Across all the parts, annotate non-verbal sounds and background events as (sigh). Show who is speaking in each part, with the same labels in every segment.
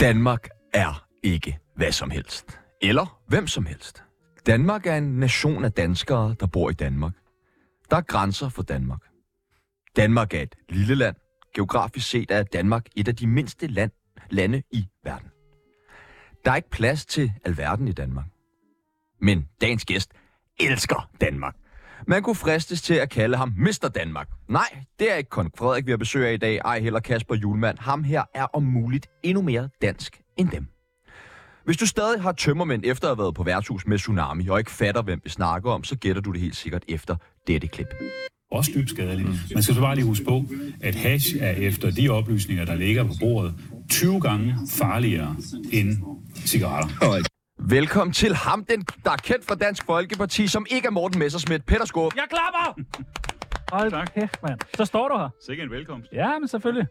Speaker 1: Danmark er ikke hvad som helst. Eller hvem som helst. Danmark er en nation af danskere, der bor i Danmark. Der er grænser for Danmark. Danmark er et lille land. Geografisk set er Danmark et af de mindste land, lande i verden. Der er ikke plads til alverden i Danmark. Men dagens gæst elsker Danmark. Man kunne fristes til at kalde ham Mr. Danmark. Nej, det er ikke kun Frederik, vi har besøg af i dag, ej heller Kasper Julemand. Ham her er om muligt endnu mere dansk end dem. Hvis du stadig har tømmermænd efter at have været på værtshus med Tsunami og ikke fatter, hvem vi snakker om, så gætter du det helt sikkert efter dette klip.
Speaker 2: også dybt skadeligt. Man skal så bare lige huske på, at hash er efter de oplysninger, der ligger på bordet, 20 gange farligere end cigaretter.
Speaker 1: Velkommen til ham, den, der er kendt fra Dansk Folkeparti, som ikke er Morten Messersmith, Peter Skåb.
Speaker 3: Jeg klapper! Hold tak. kæft, mand. Så står du her.
Speaker 2: Sikke en velkomst.
Speaker 3: Ja, men selvfølgelig.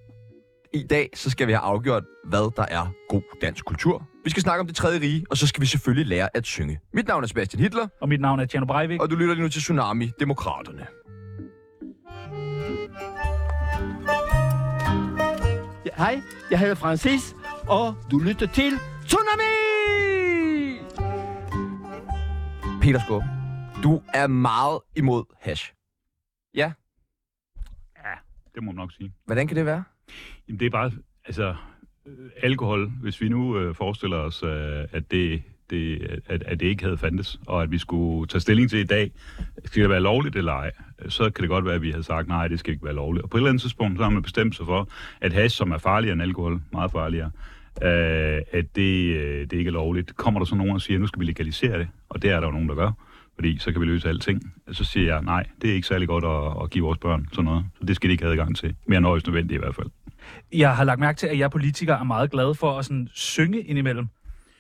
Speaker 1: I dag så skal vi have afgjort, hvad der er god dansk kultur. Vi skal snakke om det tredje rige, og så skal vi selvfølgelig lære at synge. Mit navn er Sebastian Hitler,
Speaker 3: Og mit navn er Tjerno Breivik.
Speaker 1: og du lytter lige nu til Tsunami Demokraterne.
Speaker 4: Hej, jeg hedder Francis, og du lytter til Tsunami!
Speaker 1: Peter Skåb, du er meget imod hash. Ja,
Speaker 2: Det må man nok sige.
Speaker 1: hvordan kan det være?
Speaker 2: Jamen, det er bare, altså, øh, alkohol, hvis vi nu øh, forestiller os, øh, at det det, at, at det ikke havde fandtes, og at vi skulle tage stilling til i dag, skal det være lovligt eller ej, så kan det godt være, at vi havde sagt, nej, det skal ikke være lovligt. Og på et eller andet tidspunkt, så har man bestemt sig for, at hash, som er farligere end alkohol, meget farligere, øh, at det, øh, det ikke er lovligt. Kommer der så nogen og siger, nu skal vi legalisere det, og det er der jo nogen, der gør, fordi så kan vi løse alting. Så siger jeg, nej, det er ikke særlig godt at, at give vores børn sådan noget, så det skal de ikke have adgang til. Mere end højst nødvendigt i hvert fald.
Speaker 3: Jeg har lagt mærke til, at jeg politikere er meget glade for at sådan synge indimellem.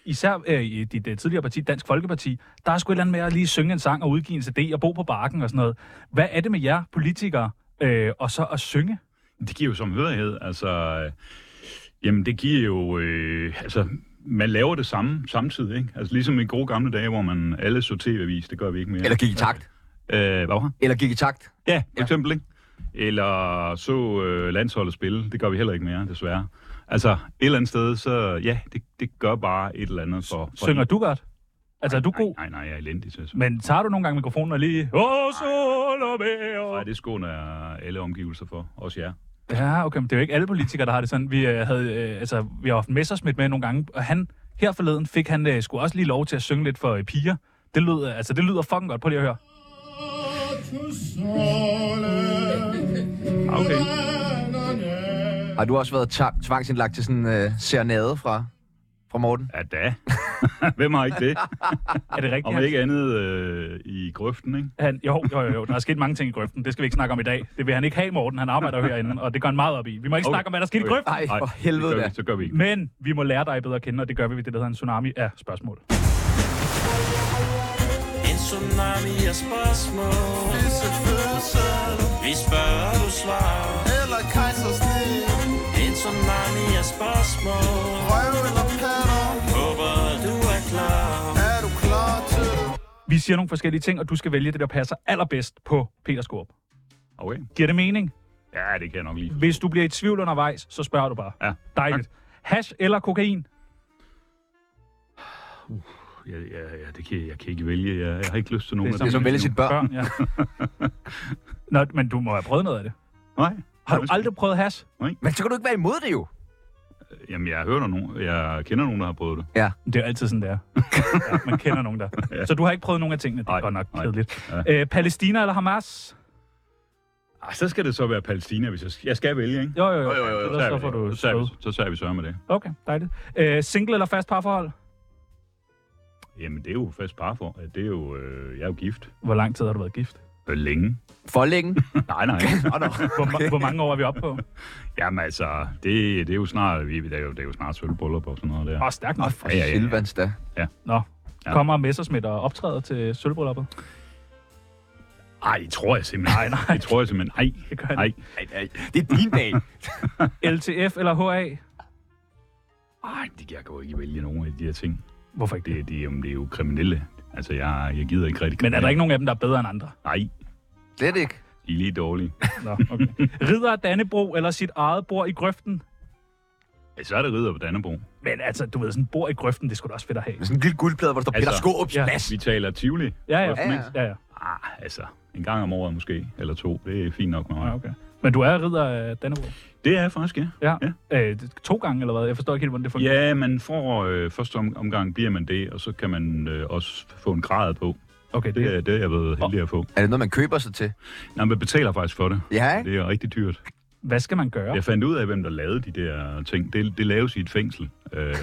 Speaker 3: Især øh, i dit øh, tidligere parti, Dansk Folkeparti, der er sgu et eller andet med at lige synge en sang og udgive en CD og bo på barken og sådan noget. Hvad er det med jer politikere øh, og så at synge?
Speaker 2: Det giver jo samhørighed, altså... øh, Jamen, det giver jo... Øh, altså, man laver det samme samtidig, ikke? Altså, ligesom i gode gamle dage, hvor man alle så tv-avis, det gør vi ikke mere.
Speaker 1: Eller gik i takt?
Speaker 2: Øh, hvad var
Speaker 1: Eller gik i takt?
Speaker 2: Ja, for eksempel, ikke? Eller så øh, landsholdet spille, det gør vi heller ikke mere, desværre. Altså, et eller andet sted, så ja, det, det gør bare et eller andet for... for
Speaker 3: Synger du godt? Altså, er du god?
Speaker 2: Nej, nej, jeg er elendig til at synge.
Speaker 3: Men tager du nogle gange mikrofonen og lige... Åh, sol og vejr.
Speaker 2: Nej, det skåner jeg alle omgivelser for, også jer.
Speaker 3: Ja, okay, men det er jo ikke alle politikere, der har det sådan. Vi, øh, havde, øh, altså, vi har haft Messerschmidt med nogle gange, og han her forleden fik han øh, skulle også lige lov til at synge lidt for øh, piger. Det lyder, altså, det lyder fucking godt. Prøv lige at høre.
Speaker 2: Ah, Okay.
Speaker 1: Har du også været ta- tvangsindlagt til sådan en øh, serenade fra, fra Morten?
Speaker 2: Ja, da. (laughs) Hvem har ikke det?
Speaker 3: Er det rigtigt?
Speaker 2: Om
Speaker 3: han-
Speaker 2: ikke andet øh, i grøften, ikke?
Speaker 3: Han, jo, jo, jo, jo, der er sket mange ting i grøften. Det skal vi ikke snakke om i dag. Det vil han ikke have, Morten. Han arbejder jo herinde, og det gør han meget op i. Vi må ikke
Speaker 2: Okay.
Speaker 3: snakke om, hvad der skete i
Speaker 2: Okay.
Speaker 3: grøften.
Speaker 1: Ej, for
Speaker 2: det
Speaker 1: helvede
Speaker 2: gør
Speaker 1: da.
Speaker 2: vi, så gør vi ikke.
Speaker 3: Men vi må lære dig bedre at kende, og det gør vi ved det, der hedder en tsunami af spørgsmål.
Speaker 5: En tsunami af spørgsmål Vi spørger, du svarer
Speaker 6: Eller kejsersnit
Speaker 5: En tsunami af spørgsmål
Speaker 6: Røv eller patter
Speaker 5: Håber, du er klar
Speaker 6: Er du klar til det?
Speaker 3: Vi siger nogle forskellige ting, og du skal vælge det, der passer allerbedst på Peter Skorp.
Speaker 2: Okay.
Speaker 3: Giver det mening?
Speaker 2: Ja, det kan jeg nok lige.
Speaker 3: Hvis du bliver i tvivl undervejs, så spørger du bare.
Speaker 2: Ja.
Speaker 3: Dejligt. Hash eller kokain?
Speaker 2: Ja, ja, ja, det kan, jeg kan ikke vælge. Jeg, jeg har ikke lyst til nogen
Speaker 3: Det
Speaker 1: Det er som at vælge sine børn.
Speaker 3: Børn, ja. Nå, men du må have prøvet noget af det.
Speaker 2: Nej.
Speaker 3: Har du aldrig prøvet hash?
Speaker 1: Men så kan du ikke være imod det jo.
Speaker 2: Jamen, jeg hører nogen. Jeg kender nogen, der har prøvet det.
Speaker 3: Det er jo altid sådan, det er. Ja, man kender nogen der. Så du har ikke prøvet nogen af tingene. Det er
Speaker 2: Nej,
Speaker 3: godt nok
Speaker 2: nej.
Speaker 3: kedeligt. Øh, Palæstina eller Hamas?
Speaker 2: Ah, så skal det så være Palæstina, hvis jeg, jeg skal vælge, ikke?
Speaker 3: Jo, jo,
Speaker 1: Jo,
Speaker 3: jo.
Speaker 1: jo, jo,
Speaker 3: Ellers
Speaker 2: er
Speaker 3: så
Speaker 2: vi
Speaker 3: får
Speaker 2: det.
Speaker 3: du
Speaker 2: så, er vi,
Speaker 3: stød.
Speaker 2: så, så er vi sørge med det.
Speaker 3: Okay, dejligt. Øh, single eller fast parforhold?
Speaker 2: Jamen, det er jo fast par for. Det er jo, øh, jeg er jo gift.
Speaker 3: Hvor lang tid har du været gift?
Speaker 2: Øh, Længe. (laughs)
Speaker 1: For længe.
Speaker 2: Nej, nej.
Speaker 1: Nå, nå.
Speaker 3: Hvor,
Speaker 1: (laughs)
Speaker 3: ma- hvor mange år er vi oppe på?
Speaker 2: Jamen, altså, det, det er jo snart, vi, det er jo, det er jo snart sølvbryllup og sådan noget der.
Speaker 3: Åh, stærkt nok.
Speaker 1: For
Speaker 2: Ja, ja, ja.
Speaker 1: silvans da.
Speaker 3: Nå,
Speaker 2: Ja.
Speaker 3: kommer Messersmith og optræder til sølvbrylluppet?
Speaker 2: Ej, det tror jeg simpelthen. Nej, nej. Det tror jeg simpelthen. Ej,
Speaker 3: Det gør han
Speaker 2: ej.
Speaker 1: Det er din dag.
Speaker 3: LTF eller HA?
Speaker 2: Ej, det, jeg kan jo ikke vælge nogen af de her ting.
Speaker 3: Hvorfor ikke det?
Speaker 2: Det, det, jamen, det er jo kriminelle. Altså, jeg, jeg gider ikke rigtig
Speaker 3: Men er der ikke nogen af dem, der er bedre end andre?
Speaker 2: Nej,
Speaker 1: Slet ikke.
Speaker 2: de er lige
Speaker 3: (laughs)
Speaker 2: dårlige.
Speaker 3: Nå, okay. Ridder af Dannebro eller sit eget bord i grøften?
Speaker 2: Ja, Så er det ridder på Dannebro.
Speaker 3: Men altså, du ved, sådan bor i grøften, det skulle da også fedt at have.
Speaker 1: Med sådan en lille guldplade, hvor der står
Speaker 2: Altså,
Speaker 1: Peter Skåbs
Speaker 3: ja.
Speaker 1: plads.
Speaker 2: Vi taler Tivoli.
Speaker 3: Ja, ja.
Speaker 2: Hvorfor
Speaker 3: ja,
Speaker 1: ikke?
Speaker 3: ja. ja, ja.
Speaker 2: Ah, altså, en gang om året måske, eller to. Det er fint nok med
Speaker 3: ja
Speaker 2: mig.
Speaker 3: okay. Men du er ridder af Dannebrog?
Speaker 2: Det er jeg faktisk, ja.
Speaker 3: Ja. ja. Øh, to gange, eller hvad? Jeg forstår ikke helt, hvordan det fungerer.
Speaker 2: Ja, man får øh, første om- omgang bliver man det, og så kan man øh, også få en grad på.
Speaker 3: Okay, det,
Speaker 2: Det er det, er jeg ved heldig at få.
Speaker 1: Er det noget, man køber sig til?
Speaker 2: Nej, man betaler faktisk for det.
Speaker 1: Ja, ikke?
Speaker 2: Det er rigtig dyrt.
Speaker 3: hvad skal man gøre?
Speaker 2: Jeg fandt ud af, hvem der lavede de der ting. Det, det laves i et fængsel. Øh,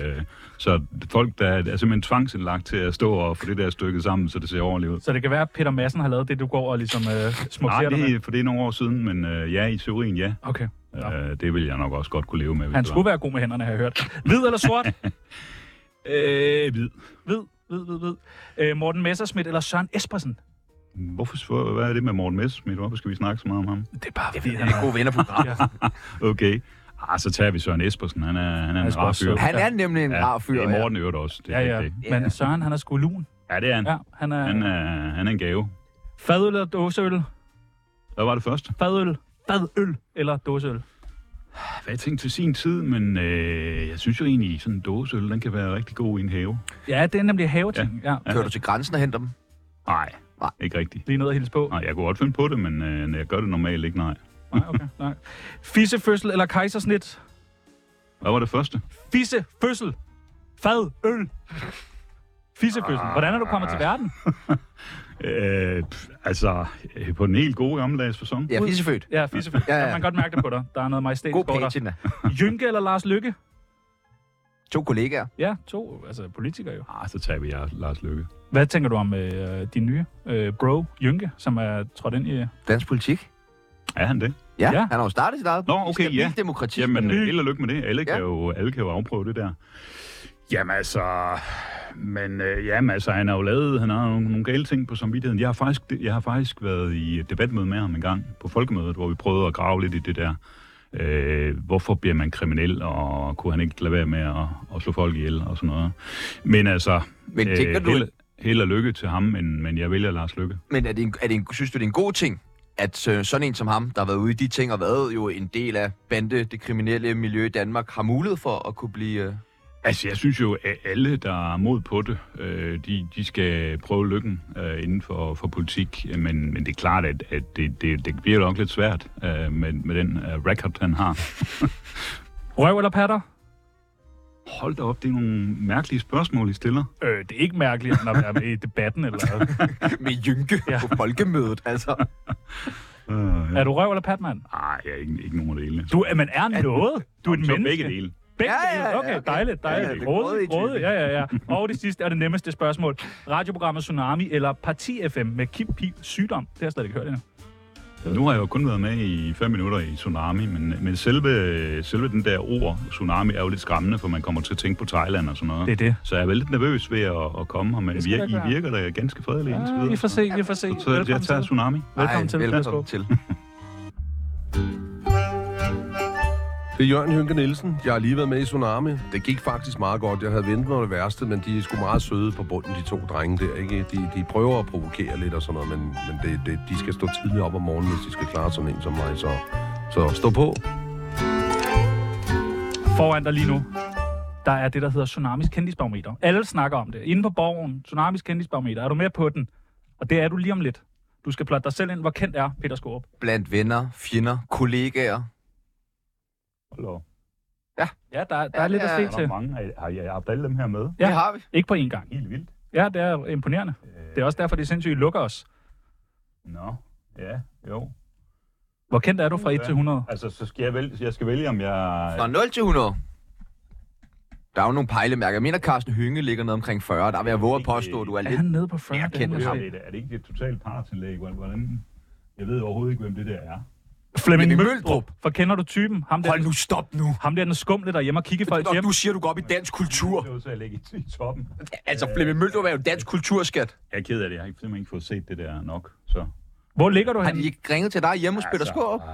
Speaker 2: så folk, der er simpelthen tvangsindlagt til at stå og få det der stykket sammen, så det ser ordentligt ud.
Speaker 3: Så det kan være, at Peter Madsen har lavet det, du går og ligesom øh,
Speaker 2: Nej,
Speaker 3: smukker dig
Speaker 2: det
Speaker 3: med?
Speaker 2: er, for det er nogle år siden, men øh, ja, i teorien ja.
Speaker 3: Okay. Nå.
Speaker 2: Øh, det vil jeg nok også godt kunne leve med. hvis
Speaker 3: Han
Speaker 2: det var.
Speaker 3: skulle være god med hænderne, har jeg hørt. Hvid eller
Speaker 2: (laughs)
Speaker 3: sort?
Speaker 2: Øh, hvid.
Speaker 3: Hvid, hvid, hvid, hvid. Øh, Morten Messerschmidt eller Søren Espersen?
Speaker 2: Hvorfor, hvor, hvad er det med Morten Messerschmidt? Hvorfor skal vi snakke så meget om ham?
Speaker 3: Det er bare fordi,
Speaker 1: Det er gode venner på programmet.
Speaker 2: Okay. Ah, så tager vi Søren Espersen. Han er, han er
Speaker 3: Han er
Speaker 2: en rar
Speaker 3: også
Speaker 2: fyr.
Speaker 3: sød.
Speaker 1: Han er nemlig en rar fyr.
Speaker 2: det er Morten i øvrigt også. Det,
Speaker 3: Ja,
Speaker 2: er
Speaker 3: ja.
Speaker 2: Det.
Speaker 3: Men Søren, han er sgu lun.
Speaker 2: ja, det er han.
Speaker 3: Ja, han er...
Speaker 2: Han
Speaker 3: er...
Speaker 2: er, han er en gave.
Speaker 3: Fadøl eller dåseøl?
Speaker 2: Hvad var det først?
Speaker 3: Fadøl. Fadøl eller dåseøl?
Speaker 2: Hvad jeg tænkte til sin tid, men øh, jeg synes jo egentlig, sådan en dåseøl, den kan være rigtig god i en have.
Speaker 3: Ja, det er nemlig haveting. Ja.
Speaker 1: Kører du til grænsen og henter dem?
Speaker 2: Nej,
Speaker 1: Nej.
Speaker 2: ikke rigtigt.
Speaker 3: Lige noget at hilse på.
Speaker 2: Nej, jeg kunne godt finde på det, men øh, når jeg gør det normalt ikke, nej.
Speaker 3: Nej, okay, nej. Fissefødsel eller kejsersnit?
Speaker 2: Hvad var det første?
Speaker 3: Fissefødsel. Fadøl. Fissefødsel. Hvordan er du kommet til verden?
Speaker 2: Øh, pff, altså, øh, på den helt gode gammeldags fasong.
Speaker 1: Ja, fissefødt.
Speaker 3: Ja, fissefødsel.
Speaker 1: Ja,
Speaker 3: Ja,
Speaker 1: ja.
Speaker 3: ja. Man kan godt mærke det på dig. Der er noget
Speaker 1: God
Speaker 3: majestætisk over dig.
Speaker 1: patina.
Speaker 3: Jynke eller Lars Lykke?
Speaker 1: To kollegaer.
Speaker 3: Ja, to altså politikere jo.
Speaker 2: Ah, så tager vi jer, Lars Lykke.
Speaker 3: Hvad tænker du om øh, din nye øh, bro, Jynke, som er trådt ind i... øh,
Speaker 1: Dansk politik.
Speaker 2: Er han det?
Speaker 1: Ja,
Speaker 3: Ja.
Speaker 1: han har jo startet sit eget
Speaker 2: Nå,
Speaker 1: politik.
Speaker 2: okay,
Speaker 1: Stabilt
Speaker 2: ja.
Speaker 1: demokrati.
Speaker 2: Jamen, øh, held og lykke med det. Alle,
Speaker 1: Ja.
Speaker 2: kan jo, alle kan jo afprøve det der. Jamen altså, men øh, jamen, altså, han har jo lavet, han har nogle, nogle gale ting på samvittigheden. Jeg har, faktisk, jeg har faktisk været i et debatmøde med ham en gang på folkemødet, hvor vi prøvede at grave lidt i det der. Øh, hvorfor bliver man kriminel, og kunne han ikke lade være med at, at slå folk ihjel og sådan noget. Men altså,
Speaker 1: Men tænker du-
Speaker 2: held, held og lykke til ham, men, men jeg vælger Lars Lykke.
Speaker 1: Men er det en, er det en, synes du, det er en god ting, at øh, sådan en som ham, der har været ude i de ting og været jo en del af bande, det kriminelle miljø i Danmark, har mulighed for at kunne blive... Øh...
Speaker 2: Altså, jeg synes jo, at alle, der er mod på det, øh, de, de skal prøve lykken øh, inden for, for politik. Men, men det er klart, at, at det, det, det bliver nok lidt svært øh, med, med den øh, record, han har.
Speaker 3: Røv eller patter?
Speaker 2: Hold da op, det er nogle mærkelige spørgsmål, I stiller.
Speaker 3: Øh, det er ikke mærkeligt, når man er med i debatten eller
Speaker 2: (laughs)
Speaker 3: noget.
Speaker 1: med Jynke ja.
Speaker 3: Ja.
Speaker 1: på folkemødet, altså.
Speaker 2: Øh, ja.
Speaker 3: Er du røv eller patmand?
Speaker 2: Ej, jeg er ikke, ikke nogen af delene.
Speaker 3: Du, øh, man er noget. Du er et
Speaker 2: Så
Speaker 3: menneske.
Speaker 2: Begge dele.
Speaker 3: Begge
Speaker 1: Ja, ja,
Speaker 3: dele.
Speaker 1: ja,
Speaker 3: Okay,
Speaker 1: okay.
Speaker 3: dejligt,
Speaker 1: Ja,
Speaker 3: dejligt.
Speaker 1: ja,
Speaker 3: Gråde,
Speaker 1: grådig
Speaker 3: gråde,
Speaker 1: type.
Speaker 3: ja, ja, ja. Og det sidste er det nemmeste spørgsmål. Radioprogrammet Tsunami eller Parti FM med Kim Pil Sygdom. Det har jeg slet ikke hørt endnu.
Speaker 2: Nu har jeg jo kun været med i fem minutter i Tsunami, men, men selve, selve den der ord, Tsunami, er jo lidt skræmmende, for man kommer til at tænke på Thailand og sådan noget.
Speaker 3: Det er det.
Speaker 2: Så jeg er lidt nervøs ved at, at komme her, men
Speaker 3: skal
Speaker 2: vir-
Speaker 3: du ikke være.
Speaker 2: I virker da ganske fredelige indtil
Speaker 3: Ja,
Speaker 2: videre.
Speaker 3: vi får se, vi får se.
Speaker 2: Så jeg, jeg tager Tsunami.
Speaker 3: Velkommen
Speaker 1: Ej,
Speaker 3: til. Værsgo.
Speaker 1: Velkommen til.
Speaker 7: Det er Jørgen Hynke Nielsen. Jeg har lige været med i Tsunami. Det gik faktisk meget godt. Jeg havde ventet mig det værste, men de er sgu meget søde på bunden, de to drenge der. Ikke? De, de prøver at provokere lidt og sådan noget, men, men det, det, de skal stå tidligt op om morgenen, hvis de skal klare sådan en som mig. Så, så stå på.
Speaker 3: Foran dig lige nu, der er det, der hedder Tsunamis kendisbarometer. Alle snakker om det. Inde på borgen, Tsunamis kendisbarometer. Er du med på den? Og det er du lige om lidt. Du skal plotte dig selv ind. Hvor kendt er Peter Skorup?
Speaker 1: Blandt venner, fjender, kollegaer.
Speaker 2: Hold op.
Speaker 3: Ja, der, der ja,
Speaker 1: Ja,
Speaker 3: er lidt
Speaker 1: det
Speaker 3: at
Speaker 1: er-
Speaker 3: se
Speaker 2: Er der
Speaker 3: til.
Speaker 2: mange? Har- Har jeg haft alle dem her med?
Speaker 3: Ja.
Speaker 1: Det har vi.
Speaker 3: Ikke på én gang.
Speaker 2: Helt vildt.
Speaker 3: Ja, det er imponerende. Det er også derfor, de sindssygt lukker os.
Speaker 2: Nå, ja, jo.
Speaker 3: Hvor kendt er du fra 1 til 100?
Speaker 2: Altså, så skal jeg vælge, jeg skal vælge om jeg...
Speaker 1: Fra 0 til 100. Der er jo nogle pejlemærker. Jeg mener, Carsten Hynge ligger nede omkring 40. Der vil jeg våge at påstå, at du er
Speaker 3: Er
Speaker 1: lidt...
Speaker 3: han nede på 40?
Speaker 1: Jeg
Speaker 3: Det er
Speaker 1: kender
Speaker 3: måske-
Speaker 2: Hvad er, det, er det ikke et totalt partsindlæg? Hvordan- Hvordan? Jeg ved overhovedet ikke, hvem det der er.
Speaker 3: Flemming
Speaker 1: Flemming
Speaker 3: Møldrup. For kender du typen? Ham der,
Speaker 1: Hold nu, stop nu.
Speaker 3: ham der er den skumle derhjemme og kigge folk hjem.
Speaker 1: Nå, nu siger du går op i dansk kultur.
Speaker 2: Det var så, jeg ligger i toppen.
Speaker 1: Altså, Flemming Møldrup er jo dansk kulturskat.
Speaker 2: Jeg er ked af det. Jeg har ikke- simpelthen ikke fået set det der nok. Så.
Speaker 3: Hvor ligger du
Speaker 1: Har de
Speaker 3: henne?
Speaker 1: ikke ringet til dig hjemme hos Peter Skåb?
Speaker 2: øh,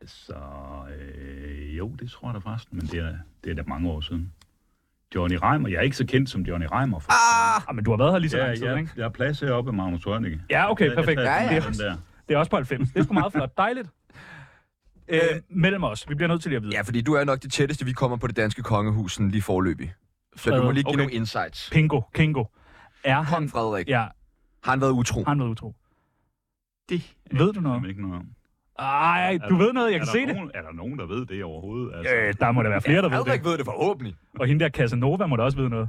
Speaker 2: altså, øh, jo, det tror jeg da forresten, men det er, det er da mange år siden. Johnny Reimer. Jeg er ikke så kendt som Johnny Reimer. For...
Speaker 1: Ah!
Speaker 3: Ah, men du har været her lige så
Speaker 2: Ja,
Speaker 3: lang tid,
Speaker 2: ja,
Speaker 3: ikke?
Speaker 2: der er plads heroppe af Magnus Rønnicke.
Speaker 3: Ja, okay,
Speaker 2: Jeg- jeg
Speaker 3: perfekt.
Speaker 2: tager
Speaker 1: Ja, ja.
Speaker 2: den der.
Speaker 3: Det er også på 90. Det er sgu meget flot. Dejligt. øh, mellem os. Vi bliver nødt til lige at vide.
Speaker 1: Ja, fordi du er nok det tætteste, vi kommer på det danske kongehus sådan lige forløbig. Så du
Speaker 3: Frederik,
Speaker 1: må lige give
Speaker 3: okay.
Speaker 1: nogle insights.
Speaker 3: Pingo, Kingo. Er han...
Speaker 1: Kong Frederik,
Speaker 3: Ja,
Speaker 1: har han været utro?
Speaker 3: har han været utro?
Speaker 2: Det
Speaker 3: Ved du noget?
Speaker 2: Jamen, ikke noget om.
Speaker 3: Ej, du ved noget, jeg kan
Speaker 2: er
Speaker 3: se
Speaker 2: der
Speaker 3: det.
Speaker 2: nogen, Er der nogen, der ved det overhovedet? Altså,
Speaker 3: Øh, der må der være flere, der ved
Speaker 1: Frederik
Speaker 3: det.
Speaker 1: ved det forhåbentlig.
Speaker 3: Og hende der Casanova må da også vide noget.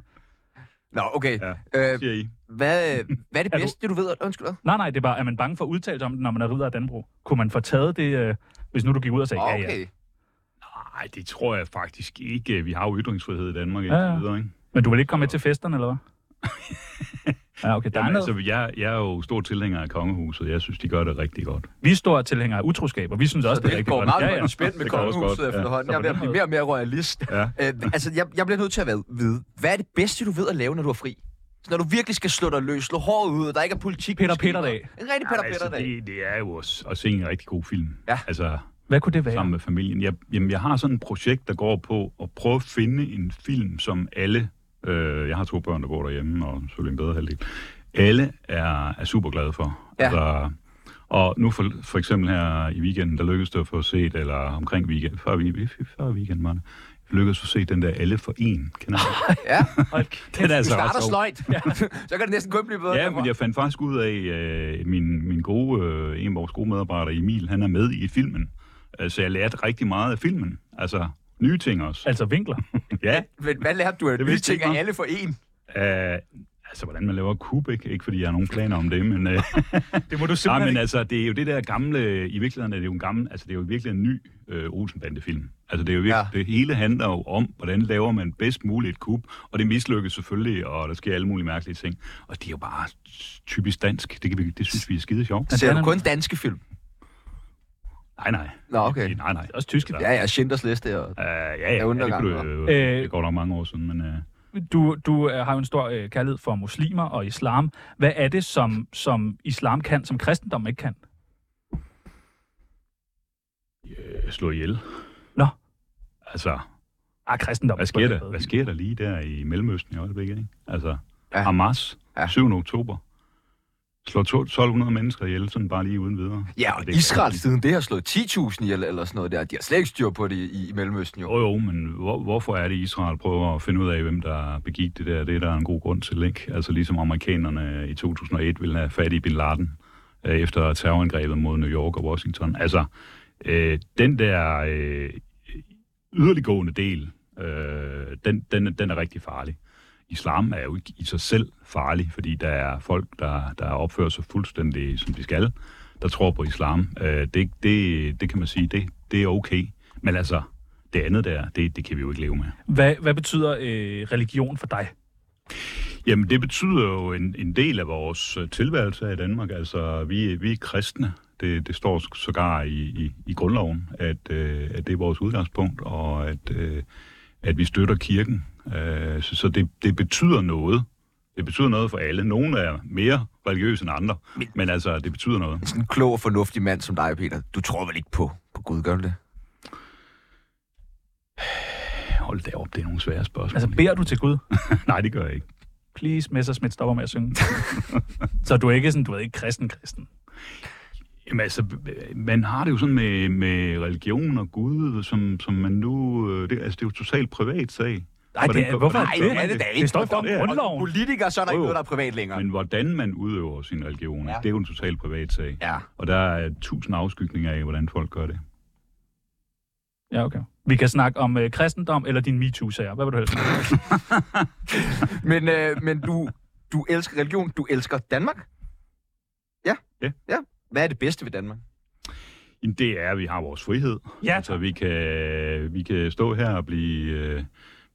Speaker 1: Nå, okay.
Speaker 2: Ja.
Speaker 1: Øh,
Speaker 2: siger I.
Speaker 1: hvad, hvad er det
Speaker 3: Er du-
Speaker 1: bedste, det du ved? Undskyld, hvad?
Speaker 3: Nej, nej, det er bare, er man bange for at udtale sig om det, når man er ridder af Danbro? Kunne man få taget det, øh, hvis nu du gik ud og sagde, ja, ja.
Speaker 1: Ah, Okay.
Speaker 2: Nej, det tror jeg faktisk ikke. Vi har jo ytringsfrihed i Danmark
Speaker 3: Ja,
Speaker 2: indtil
Speaker 3: ja.
Speaker 2: videre, ikke?
Speaker 3: Men du vil ikke komme med til festerne, (laughs) eller hvad? ja, okay, der er
Speaker 2: Jamen,
Speaker 3: noget.
Speaker 2: altså, jeg, jeg er jo stor tilhænger af kongehuset. Jeg synes, de gør det rigtig godt.
Speaker 3: Vi er store tilhængere af utroskab, og vi synes også, altså- det, er
Speaker 1: Det
Speaker 3: rigtig
Speaker 1: går
Speaker 3: godt.
Speaker 1: meget
Speaker 3: ja, ja.
Speaker 1: godt
Speaker 2: (laughs)
Speaker 1: spændt med
Speaker 2: Det går også
Speaker 1: kongehuset
Speaker 2: godt, ja.
Speaker 1: efterhånden.
Speaker 3: Så
Speaker 1: Jeg er
Speaker 3: på
Speaker 1: ved at
Speaker 3: den
Speaker 1: blive
Speaker 3: måde-
Speaker 1: mere og mere royalist.
Speaker 2: Ja.
Speaker 1: Øh, altså, jeg, jeg bliver nødt til at være- vide, hvad er det bedste, du ved at lave, når du er fri? Så når du virkelig skal slå dig løs, slå håret ud, og der ikke er politik.
Speaker 3: Peter
Speaker 1: på skemaet.
Speaker 3: Peter-dag.
Speaker 1: En rigtig Peter
Speaker 2: altså,
Speaker 1: Peter-dag.
Speaker 2: det, det er jo også at se en rigtig god film.
Speaker 1: Ja.
Speaker 2: Altså,
Speaker 3: Hvad kunne det være?
Speaker 2: sammen med familien. Jeg, jamen, jeg har sådan et projekt, der går på at prøve at finde en film, som alle... Øh, jeg har to børn, der går derhjemme, og selvfølgelig en bedre halvdel. Alle er, er super glade for.
Speaker 1: Ja.
Speaker 2: Altså, og nu for, for eksempel her i weekenden, der lykkedes det at få set, eller omkring weekend, før, vi- før weekenden var det, lykkedes at se den der Alle for en. Kender
Speaker 1: (laughs)
Speaker 2: du den? (laughs)
Speaker 1: Ja,
Speaker 3: Hold kæft.
Speaker 2: den er
Speaker 1: du
Speaker 2: altså ret
Speaker 1: starter
Speaker 2: sjov.
Speaker 1: sløjt. (laughs) Så kan det næsten kun blive bedre.
Speaker 2: Ja, men jeg fandt faktisk ud af, øh, min, min gode, øh, en af vores gode medarbejdere, Emil, han er med i filmen. Øh, Så jeg lærte rigtig meget af filmen. Altså, nye ting også.
Speaker 3: Altså vinkler.
Speaker 2: Ja,
Speaker 1: Men hvad lærte du af
Speaker 2: Det
Speaker 1: nye
Speaker 2: vidste jeg
Speaker 1: ting
Speaker 2: ikke
Speaker 1: af
Speaker 2: noget.
Speaker 1: alle for én?
Speaker 2: øh, altså, hvordan man laver kub, ikke? Ikke fordi jeg har nogen planer om (laughs) det, men... Øh,
Speaker 3: (laughs) Det må du
Speaker 2: nej,
Speaker 3: simpelthen
Speaker 2: men
Speaker 3: ikke.
Speaker 2: altså, det er jo det der gamle... I virkeligheden er det jo en gammel... Altså, det er jo virkelig en ny øh, Olsenbande-film. Altså, det er jo virkelig...
Speaker 1: Ja.
Speaker 2: Ja. Det hele handler jo om, hvordan laver man bedst muligt et kub, og det mislykkes selvfølgelig, og der sker alle mulige mærkelige ting. Og det er jo bare typisk dansk. Det, kan vi, det synes vi er skide sjovt.
Speaker 1: Ser
Speaker 3: den
Speaker 1: du
Speaker 3: er-
Speaker 1: kun danske film?
Speaker 2: Nej, nej.
Speaker 1: Nå, okay.
Speaker 2: Nej, nej.
Speaker 3: Også tyske.
Speaker 1: Ja, ja, Schindlers Liste og...
Speaker 2: Uh, ja, ja, ja, det,
Speaker 1: undergang,
Speaker 2: kunne,
Speaker 1: hva'?
Speaker 2: du-
Speaker 3: Øh,
Speaker 2: det går nok mange år siden, men uh,
Speaker 3: Du, du øh, har jo en stor øh, kærlighed for muslimer og islam. Hvad er det, som, som islam kan, som kristendommen ikke kan?
Speaker 2: slå ihjel.
Speaker 3: Nå.
Speaker 2: Altså,
Speaker 3: Ah, kristendommen.
Speaker 2: hvad
Speaker 3: er
Speaker 2: sker,
Speaker 3: sgu
Speaker 2: der,
Speaker 3: bedre.
Speaker 2: hvad sker der lige der i Mellemøsten i øjeblikket? Ikke? Altså,
Speaker 1: Ja.
Speaker 2: ja. Hamas,
Speaker 1: Ja.
Speaker 2: ja. 7. oktober, slår to- 1200 mennesker ihjel, sådan bare lige uden videre.
Speaker 1: Ja, og
Speaker 2: det er
Speaker 1: Israel
Speaker 2: rigtigt.
Speaker 1: siden det har slået 10.000 ihjel eller sådan noget der. De har slet ikke styr på det i, i Mellemøsten jo.
Speaker 2: Jo, jo, men hvor, hvorfor er det, Israel prøver at finde ud af, hvem der begik det der? Det er der en god grund til, ikke? Altså ligesom amerikanerne i 2001 ville have fat i Bin Laden øh, efter terrorangrebet mod New York og Washington. Altså, øh, den der øh, yderliggående del, øh, den, den, er- den er rigtig farlig. Islam er jo ikke i sig selv farlig, fordi der er folk, der, der opfører sig fuldstændig, som de skal, der tror på islam. Øh, det, det, det kan man sige, det, det er okay. Men altså, det andet der, det, det kan vi jo ikke leve med.
Speaker 3: Hvad, hvad betyder øh, religion for dig?
Speaker 2: Jamen, det betyder jo en, en del af vores øh, tilværelse her i Danmark. Altså, vi, vi er kristne. Det, det står sågar i, i, i grundloven, at, øh, at det er vores udgangspunkt, og at, øh, at vi støtter kirken. Øh, så så det, det betyder noget. Det betyder noget for alle. Nogle er mere religiøse end andre, men, men altså, det betyder noget.
Speaker 1: Sådan en klog og fornuftig mand som dig, Peter. Du tror vel ikke på, på Gud, gør du det?
Speaker 2: Hold da op, det er nogle svære spørgsmål.
Speaker 3: Altså, beder du til Gud?
Speaker 2: (laughs) Nej, det gør jeg ikke.
Speaker 3: Please, Messersmith, stopper med at (laughs) synge. så du er ikke sådan, du er ikke kristen-kristen.
Speaker 2: Jamen altså, man har det jo sådan med, med religion og Gud, som, som man nu... øh, Det, altså, det er jo totalt privat sag.
Speaker 3: Nej, det er, hvorfor
Speaker 2: hvordan-
Speaker 3: er det? Det står for
Speaker 2: Hvorfor-
Speaker 3: grundloven.
Speaker 1: Politiker, så er der
Speaker 2: Jo,
Speaker 1: ikke
Speaker 2: jo.
Speaker 1: noget, der er privat længere.
Speaker 2: Men hvordan man udøver sin religion,
Speaker 1: Ja.
Speaker 2: ja. det er jo en totalt privat sag.
Speaker 1: Ja.
Speaker 2: Og der er tusind afskygninger af, hvordan folk gør det.
Speaker 3: Ja, okay. Vi kan snakke om øh, kristendom eller din MeToo-sager. Hvad vil du helst?
Speaker 1: Men, øh, men du, du elsker religion, du elsker Danmark? Ja.
Speaker 2: Ja.
Speaker 1: ja. Hvad er det bedste ved Danmark?
Speaker 2: Jamen, Det er, at vi har vores frihed.
Speaker 3: Ja,
Speaker 2: Altså, vi kan, vi kan stå her og blive, øh,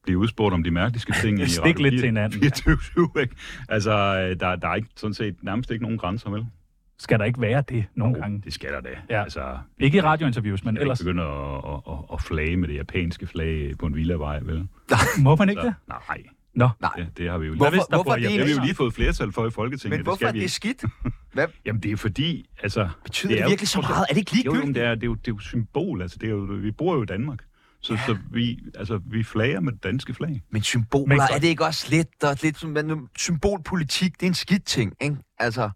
Speaker 2: blive udspurgt om de mærkeligste ting. i
Speaker 3: (laughs) Stik
Speaker 2: Radio
Speaker 3: lidt
Speaker 2: 4-
Speaker 3: til hinanden.
Speaker 2: 24, ikke? Altså, øh, der, der er ikke, sådan set nærmest ikke nogen grænser, vel?
Speaker 3: Skal der ikke være det nogle
Speaker 2: Jo,
Speaker 3: gange?
Speaker 2: Det skal der da.
Speaker 3: Ja.
Speaker 2: Altså,
Speaker 3: Ikke i radiointerviews, men
Speaker 2: Men ellers...
Speaker 3: ellers
Speaker 2: Jeg begynder at, at, at, at flage med det japanske flag på en villavej, vel?
Speaker 3: må man ikke
Speaker 2: Så,
Speaker 3: det?
Speaker 2: nej,
Speaker 3: Nå.
Speaker 2: det, det har vi jo
Speaker 1: Hvorfor-
Speaker 2: Hvad hvis der
Speaker 1: hvorfor
Speaker 2: bor
Speaker 1: er det
Speaker 2: japanere?
Speaker 1: ikke-
Speaker 2: Det har vi jo lige fået flertal for i Folketinget.
Speaker 1: Men hvorfor
Speaker 2: skal
Speaker 1: er
Speaker 2: vi
Speaker 1: det
Speaker 2: ikke.
Speaker 1: skidt? Hvad
Speaker 2: Jamen, det er fordi, altså...
Speaker 1: betyder det, det virkelig så meget? Er det ikke
Speaker 2: Jo, jo, men
Speaker 1: ligegyldigt?
Speaker 2: det er, det, er jo, det er jo et symbol, altså. Det er jo, vi bor jo i Danmark. Så, ja. så vi, altså, vi flager med det danske flag.
Speaker 1: Men symboler,
Speaker 3: Men
Speaker 1: men
Speaker 3: så-
Speaker 1: er det øh, ikke også lidt, og lidt som, men, symbolpolitik, det er en skidt ting, ikke? Altså,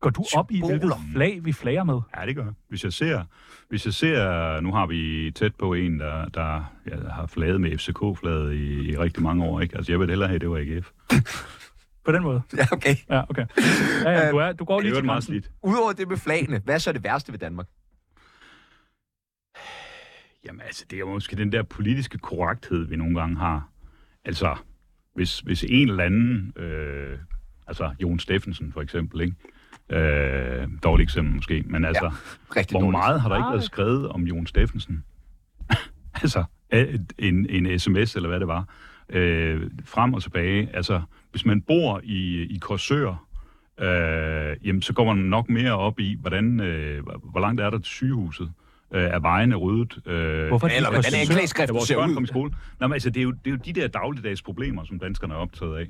Speaker 3: Går du op i, hvilket flag vi flager med?
Speaker 2: Ja, det gør jeg. hvis jeg. Ser, hvis jeg ser, nu har vi tæt på en, der, der ja, har flaget med FCK-flaget i, i rigtig mange år. Ikke? Altså, jeg vil hellere have, at det var AGF.
Speaker 3: På den måde?
Speaker 1: Ja, okay.
Speaker 3: Ja, okay. Ja, ja, du, er, du går
Speaker 2: Det
Speaker 3: lige
Speaker 2: er jo
Speaker 3: til
Speaker 2: meget
Speaker 3: grænsen.
Speaker 2: slidt.
Speaker 1: Udover det med flagene, hvad er så det værste ved Danmark?
Speaker 2: Jamen altså, det er jo måske den der politiske korrekthed, vi nogle gange har. Altså, hvis, hvis en eller anden, øh, altså Jon Steffensen for eksempel, ikke? Øh, dårligt eksempel måske, men altså, ja,
Speaker 1: Rigtig
Speaker 2: hvor
Speaker 1: dårligt.
Speaker 2: meget har der ikke været skrevet om Jon Steffensen? (laughs) altså, af- en, en sms eller hvad det var, øh, frem og tilbage. Altså, hvis man bor i, i Korsør, øh, jamen, så går man nok mere op i, hvordan, øh, hvor langt er der til sygehuset? Øh, er vejene ryddet? Øh,
Speaker 3: Hvorfor er det
Speaker 1: Eller
Speaker 3: ikke
Speaker 1: hvordan er anklageskriften
Speaker 2: vores
Speaker 1: ser
Speaker 2: børn
Speaker 1: ud?
Speaker 2: kom i skole. Nå, men altså, det er, jo, det er jo de der dagligdags problemer, som danskerne er optaget af.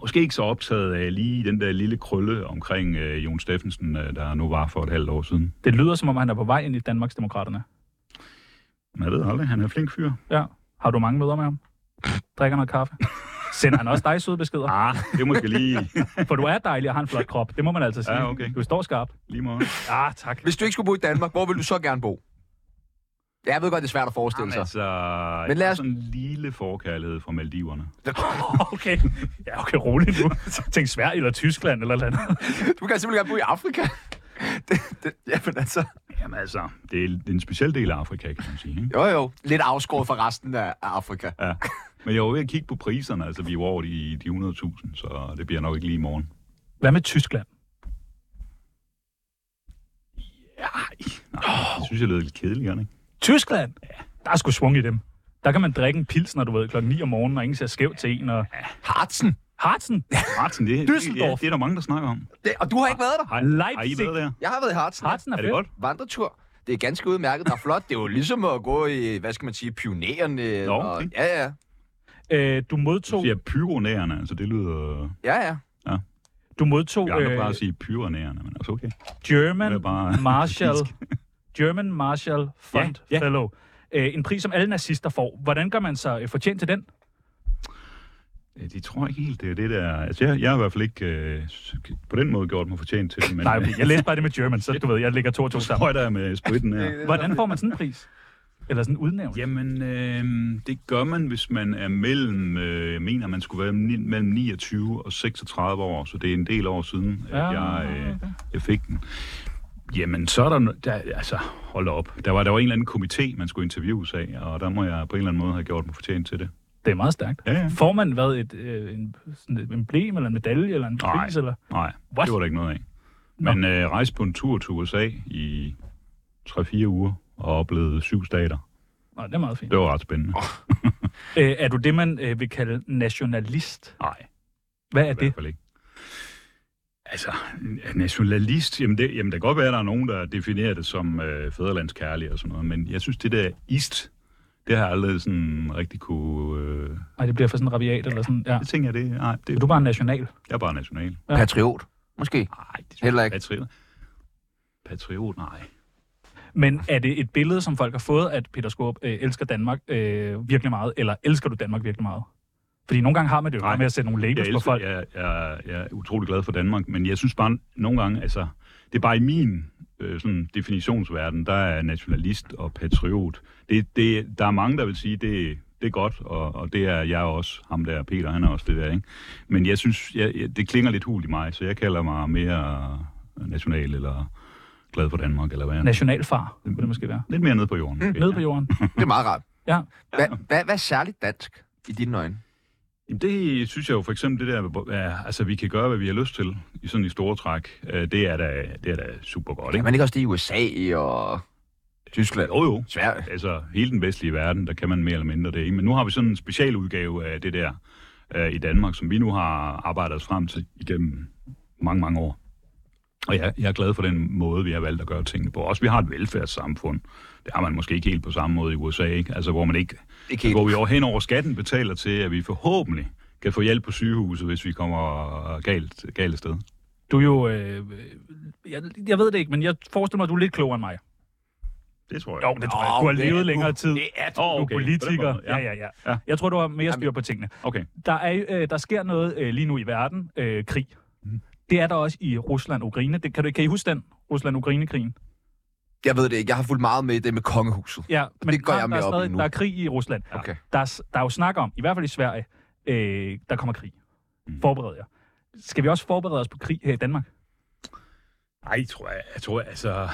Speaker 2: Måske ikke så optaget af lige den der lille krølle omkring øh, Jon Steffensen, øh, der nu var for et halvt år siden.
Speaker 3: Det lyder, som om han er på vej ind i Danmarksdemokraterne.
Speaker 2: Men jeg ved aldrig, han er en flink fyr.
Speaker 3: Ja. Har du mange møder med ham? Drikker noget kaffe? Sender han også dig søde beskeder?
Speaker 2: Ah, (laughs) det er måske lige,
Speaker 3: For du er dejlig og har en flot krop. Det må man altså sige.
Speaker 2: Ja, okay.
Speaker 3: Du står skarp.
Speaker 2: lige meget.
Speaker 3: Ah, tak.
Speaker 1: Hvis du ikke skulle bo i Danmark, hvor vil du så gerne bo? Ja, Jeg ved godt, det er svært at forestille
Speaker 2: Jamen, (laughs)
Speaker 1: sig.
Speaker 2: altså,
Speaker 1: Men
Speaker 2: men
Speaker 1: lad
Speaker 2: lad
Speaker 1: os-
Speaker 2: sådan en lille forkærlighed fra Maldiverne.
Speaker 3: Okay. Ja, okay, rolig nu. Tænk Sverige eller Tyskland eller noget andet.
Speaker 1: Du kan simpelthen gerne bo i Afrika. (laughs) Det, det, jamen altså,
Speaker 2: Jamen altså, det er, det er en speciel del af Afrika, kan man sige. Ikke?
Speaker 1: jo jo, lidt afskåret fra resten af af Afrika.
Speaker 2: Ja. Men jeg var ved at kigge på priserne, altså vi er jo over de, de 100.000, så det bliver nok ikke lige i morgen.
Speaker 3: Hvad med Tyskland?
Speaker 2: Nej, det synes jeg lyder lidt kedeligere, ikke?
Speaker 3: Tyskland? Der er sgu svung i dem. Der kan man drikke en pilsner, du ved, klokken 9 om morgenen, og ingen ser skævt til en. Og...
Speaker 1: Hartsen.
Speaker 3: Harzen?
Speaker 2: Martin, det, det,
Speaker 3: Düsseldorf.
Speaker 2: det, det er der mange, der snakker om.
Speaker 1: Det, og du har ikke været der.
Speaker 2: Har, har I
Speaker 3: Leipzig.
Speaker 2: været der?
Speaker 1: Jeg har været i Hartsen.
Speaker 3: Harzen er,
Speaker 2: Er det
Speaker 3: fedt.
Speaker 2: godt?
Speaker 1: Vandretur. Det er ganske udmærket. Der er flot. Det er jo ligesom at gå i, hvad skal man sige, pionerende.
Speaker 2: Nå,
Speaker 1: og,
Speaker 2: okay.
Speaker 1: ja, ja.
Speaker 3: Øh, du modtog...
Speaker 2: Jeg siger pyronærerne, altså det lyder...
Speaker 1: Ja, ja.
Speaker 3: Du modtog... øh,
Speaker 2: Vi andre plejer at sige pyronærerne, men altså okay.
Speaker 3: German
Speaker 2: Det er bare-
Speaker 3: Marshall,
Speaker 2: (laughs)
Speaker 3: German Marshall Fund
Speaker 2: Ja, ja.
Speaker 3: Fellow. Øh, en pris, som alle nazister får. Hvordan gør man sig øh, fortjent til den?
Speaker 2: Øh, De tror ikke helt, det er det der... Altså jeg, jeg har i hvert fald ikke øh, på den måde gjort mig fortjent til det, men
Speaker 3: Nej, okay, jeg læste bare det med German, så du ved, jeg ligger to og to sammen.
Speaker 2: højder jeg med spritten her.
Speaker 3: Hvordan får man sådan en pris? Eller sådan en udnævnelse?
Speaker 2: Jamen, øh, det gør man, hvis man er mellem, øh, jeg mener, man skulle være ni- mellem 29 og 36 år, så det er en del år siden, at
Speaker 3: Ja,
Speaker 2: jeg, øh, jeg fik den. Jamen, så er der, no- der altså, hold da op, der var, der var en eller anden komité, man skulle interviews af, og der må jeg på en eller anden måde have gjort mig fortjent til det.
Speaker 3: Det er meget stærkt.
Speaker 2: Ja, ja.
Speaker 3: Får man hvad, et, øh, en, sådan et emblem, eller en medalje, eller en
Speaker 2: Nej.
Speaker 3: pris? Eller?
Speaker 2: Nej,
Speaker 3: What?
Speaker 2: det var der ikke noget af. Men øh, rejste på en tur til USA i 3-4 uger og oplevede syv stater.
Speaker 3: Nej, det er meget fint.
Speaker 2: Det var ret spændende.
Speaker 3: Øh, er du det, man øh, vil kalde nationalist?
Speaker 2: Nej.
Speaker 3: Hvad er
Speaker 2: I
Speaker 3: det?
Speaker 2: hvert fald ikke. Altså, nationalist, jamen det, jamen det kan godt være, at der er nogen, der definerer det som øh, fædrelandskærlig og sådan noget, men jeg synes, det der ist, det har jeg aldrig sådan rigtig kunne... Øh,
Speaker 3: Nej, det bliver for sådan rabiat, eller sådan. Ja.
Speaker 2: det tænker jeg, det, nej,
Speaker 3: Er
Speaker 2: det,
Speaker 3: du bare en national?
Speaker 2: jeg er bare national.
Speaker 3: Ja.
Speaker 1: Patriot, måske.
Speaker 2: Nej, det
Speaker 1: Heller ikke.
Speaker 2: Patriot. Patriot, nej.
Speaker 3: Men er det et billede, som folk har fået, at Peter Skorp øh, elsker Danmark øh, virkelig meget, eller elsker du Danmark virkelig meget? Fordi nogle gange har man det jo
Speaker 2: Nej.
Speaker 3: bare med at sætte nogle
Speaker 2: Jeg,
Speaker 3: labels på
Speaker 2: elsker,
Speaker 3: folk.
Speaker 2: jeg, jeg, jeg er utrolig glad for Danmark, men jeg synes bare nogle gange, altså, det er bare i min øh, sådan definitionsverden, der er nationalist og patriot. Det, det, der er mange, der vil sige, det, det er godt, og, og det er jeg også. Ham der, Peter, han er også det der, ikke? Men jeg synes, jeg, jeg, det klinger lidt hul i mig, så jeg kalder mig mere national eller glad for Danmark, eller hvad jeg
Speaker 3: Nationalfar, kunne det måske være.
Speaker 2: Lidt mere nede på jorden. Mm,
Speaker 3: Nede på jorden.
Speaker 1: Det er meget rart.
Speaker 3: Ja.
Speaker 1: Hva, hva, hvad er særligt dansk i dine øjne?
Speaker 2: Jamen, Det synes jeg jo for eksempel, det der, hvor- ja, altså vi kan gøre, hvad vi har lyst til, i sådan i store træk, øh, det er da, det er da super godt,
Speaker 1: Kan
Speaker 2: ikke?
Speaker 1: man ikke også det i USA og Tyskland?
Speaker 2: Jo jo,
Speaker 1: Sverige.
Speaker 2: altså hele den vestlige verden, der kan man mere eller mindre det, ikke? Men nu har vi sådan en specialudgave af det der øh, i Danmark, som vi nu har arbejdet os frem til igennem mange, mange år. Og jeg, jeg er glad for den måde, vi har valgt at gøre tingene på. Også vi har et velfærdssamfund. Det har man måske ikke helt på samme måde i USA, ikke? Altså hvor man ikke
Speaker 1: Ikke
Speaker 2: Okay.
Speaker 1: helt.
Speaker 2: Hvor vi over hen over skatten betaler til, at vi forhåbentlig kan få hjælp på sygehuset, hvis vi kommer øh, galt, galt sted.
Speaker 3: Du er jo... Øh, jeg, jeg ved det ikke, men jeg forestiller mig, at du er lidt klogere end mig.
Speaker 2: Det tror jeg.
Speaker 3: Jo, det tror jeg. Du har
Speaker 1: det
Speaker 3: levet
Speaker 1: er
Speaker 3: længere tid. Det
Speaker 2: er
Speaker 3: du. er
Speaker 2: okay. På den
Speaker 3: politiker.
Speaker 2: måde,
Speaker 3: Ja.
Speaker 2: ja.
Speaker 3: Ja, ja, ja.
Speaker 2: Ja.
Speaker 3: Jeg tror, du har mere styr på tingene.
Speaker 2: Okay.
Speaker 3: Der, er, jo, øh, der sker noget øh, lige nu i verden. Øh, krig. Det er der også i Rusland-Ukraine. Det, kan, du, kan I huske den? Rusland-Ukraine-krigen?
Speaker 1: Jeg ved det ikke. Jeg har fulgt meget med i det med kongehuset.
Speaker 3: Ja, men
Speaker 1: det går
Speaker 3: der,
Speaker 1: jeg
Speaker 3: der, er
Speaker 1: mere op i
Speaker 3: stadig,
Speaker 1: nu.
Speaker 3: der er krig i Rusland.
Speaker 1: Okay.
Speaker 3: Der, er, s- der er jo snak om, i hvert fald i Sverige, øh, der kommer krig. Forbered jer. Skal vi også forberede os på krig her i Danmark?
Speaker 2: Nej, tror jeg, jeg tror, altså...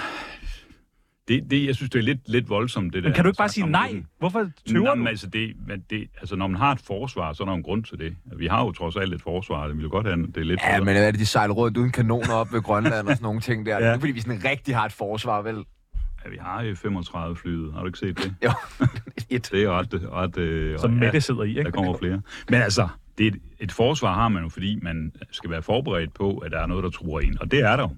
Speaker 2: Det, det, jeg synes, det er lidt, lidt voldsomt, det der.
Speaker 3: Men kan du ikke bare
Speaker 2: at snakke
Speaker 3: sige
Speaker 2: om
Speaker 3: nej?
Speaker 2: det.
Speaker 3: Hvorfor
Speaker 2: Nå,
Speaker 3: tøver
Speaker 2: men
Speaker 3: du?
Speaker 2: altså, det, men det, altså, når man har et forsvar, så er der jo en grund til det. Vi har jo trods alt et forsvar, det ville godt have, det er lidt
Speaker 1: Ja,
Speaker 2: bedre.
Speaker 1: men er det, de sejler rundt uden kanoner op ved Grønland og sådan nogle ting der? ja. Det er ikke, fordi, vi sådan rigtig har et forsvar, vel?
Speaker 2: Ja, vi har F-35-flyet, har du ikke set det?
Speaker 1: Jo, (laughs) et.
Speaker 2: Det er ret... ret øh,
Speaker 3: Som
Speaker 2: ja,
Speaker 3: Mette sidder i,
Speaker 2: Der
Speaker 3: ikke?
Speaker 2: kommer flere. Men altså, det er et, et forsvar har man jo, fordi man skal være forberedt på, at der er noget, der truer en. Og det er der jo.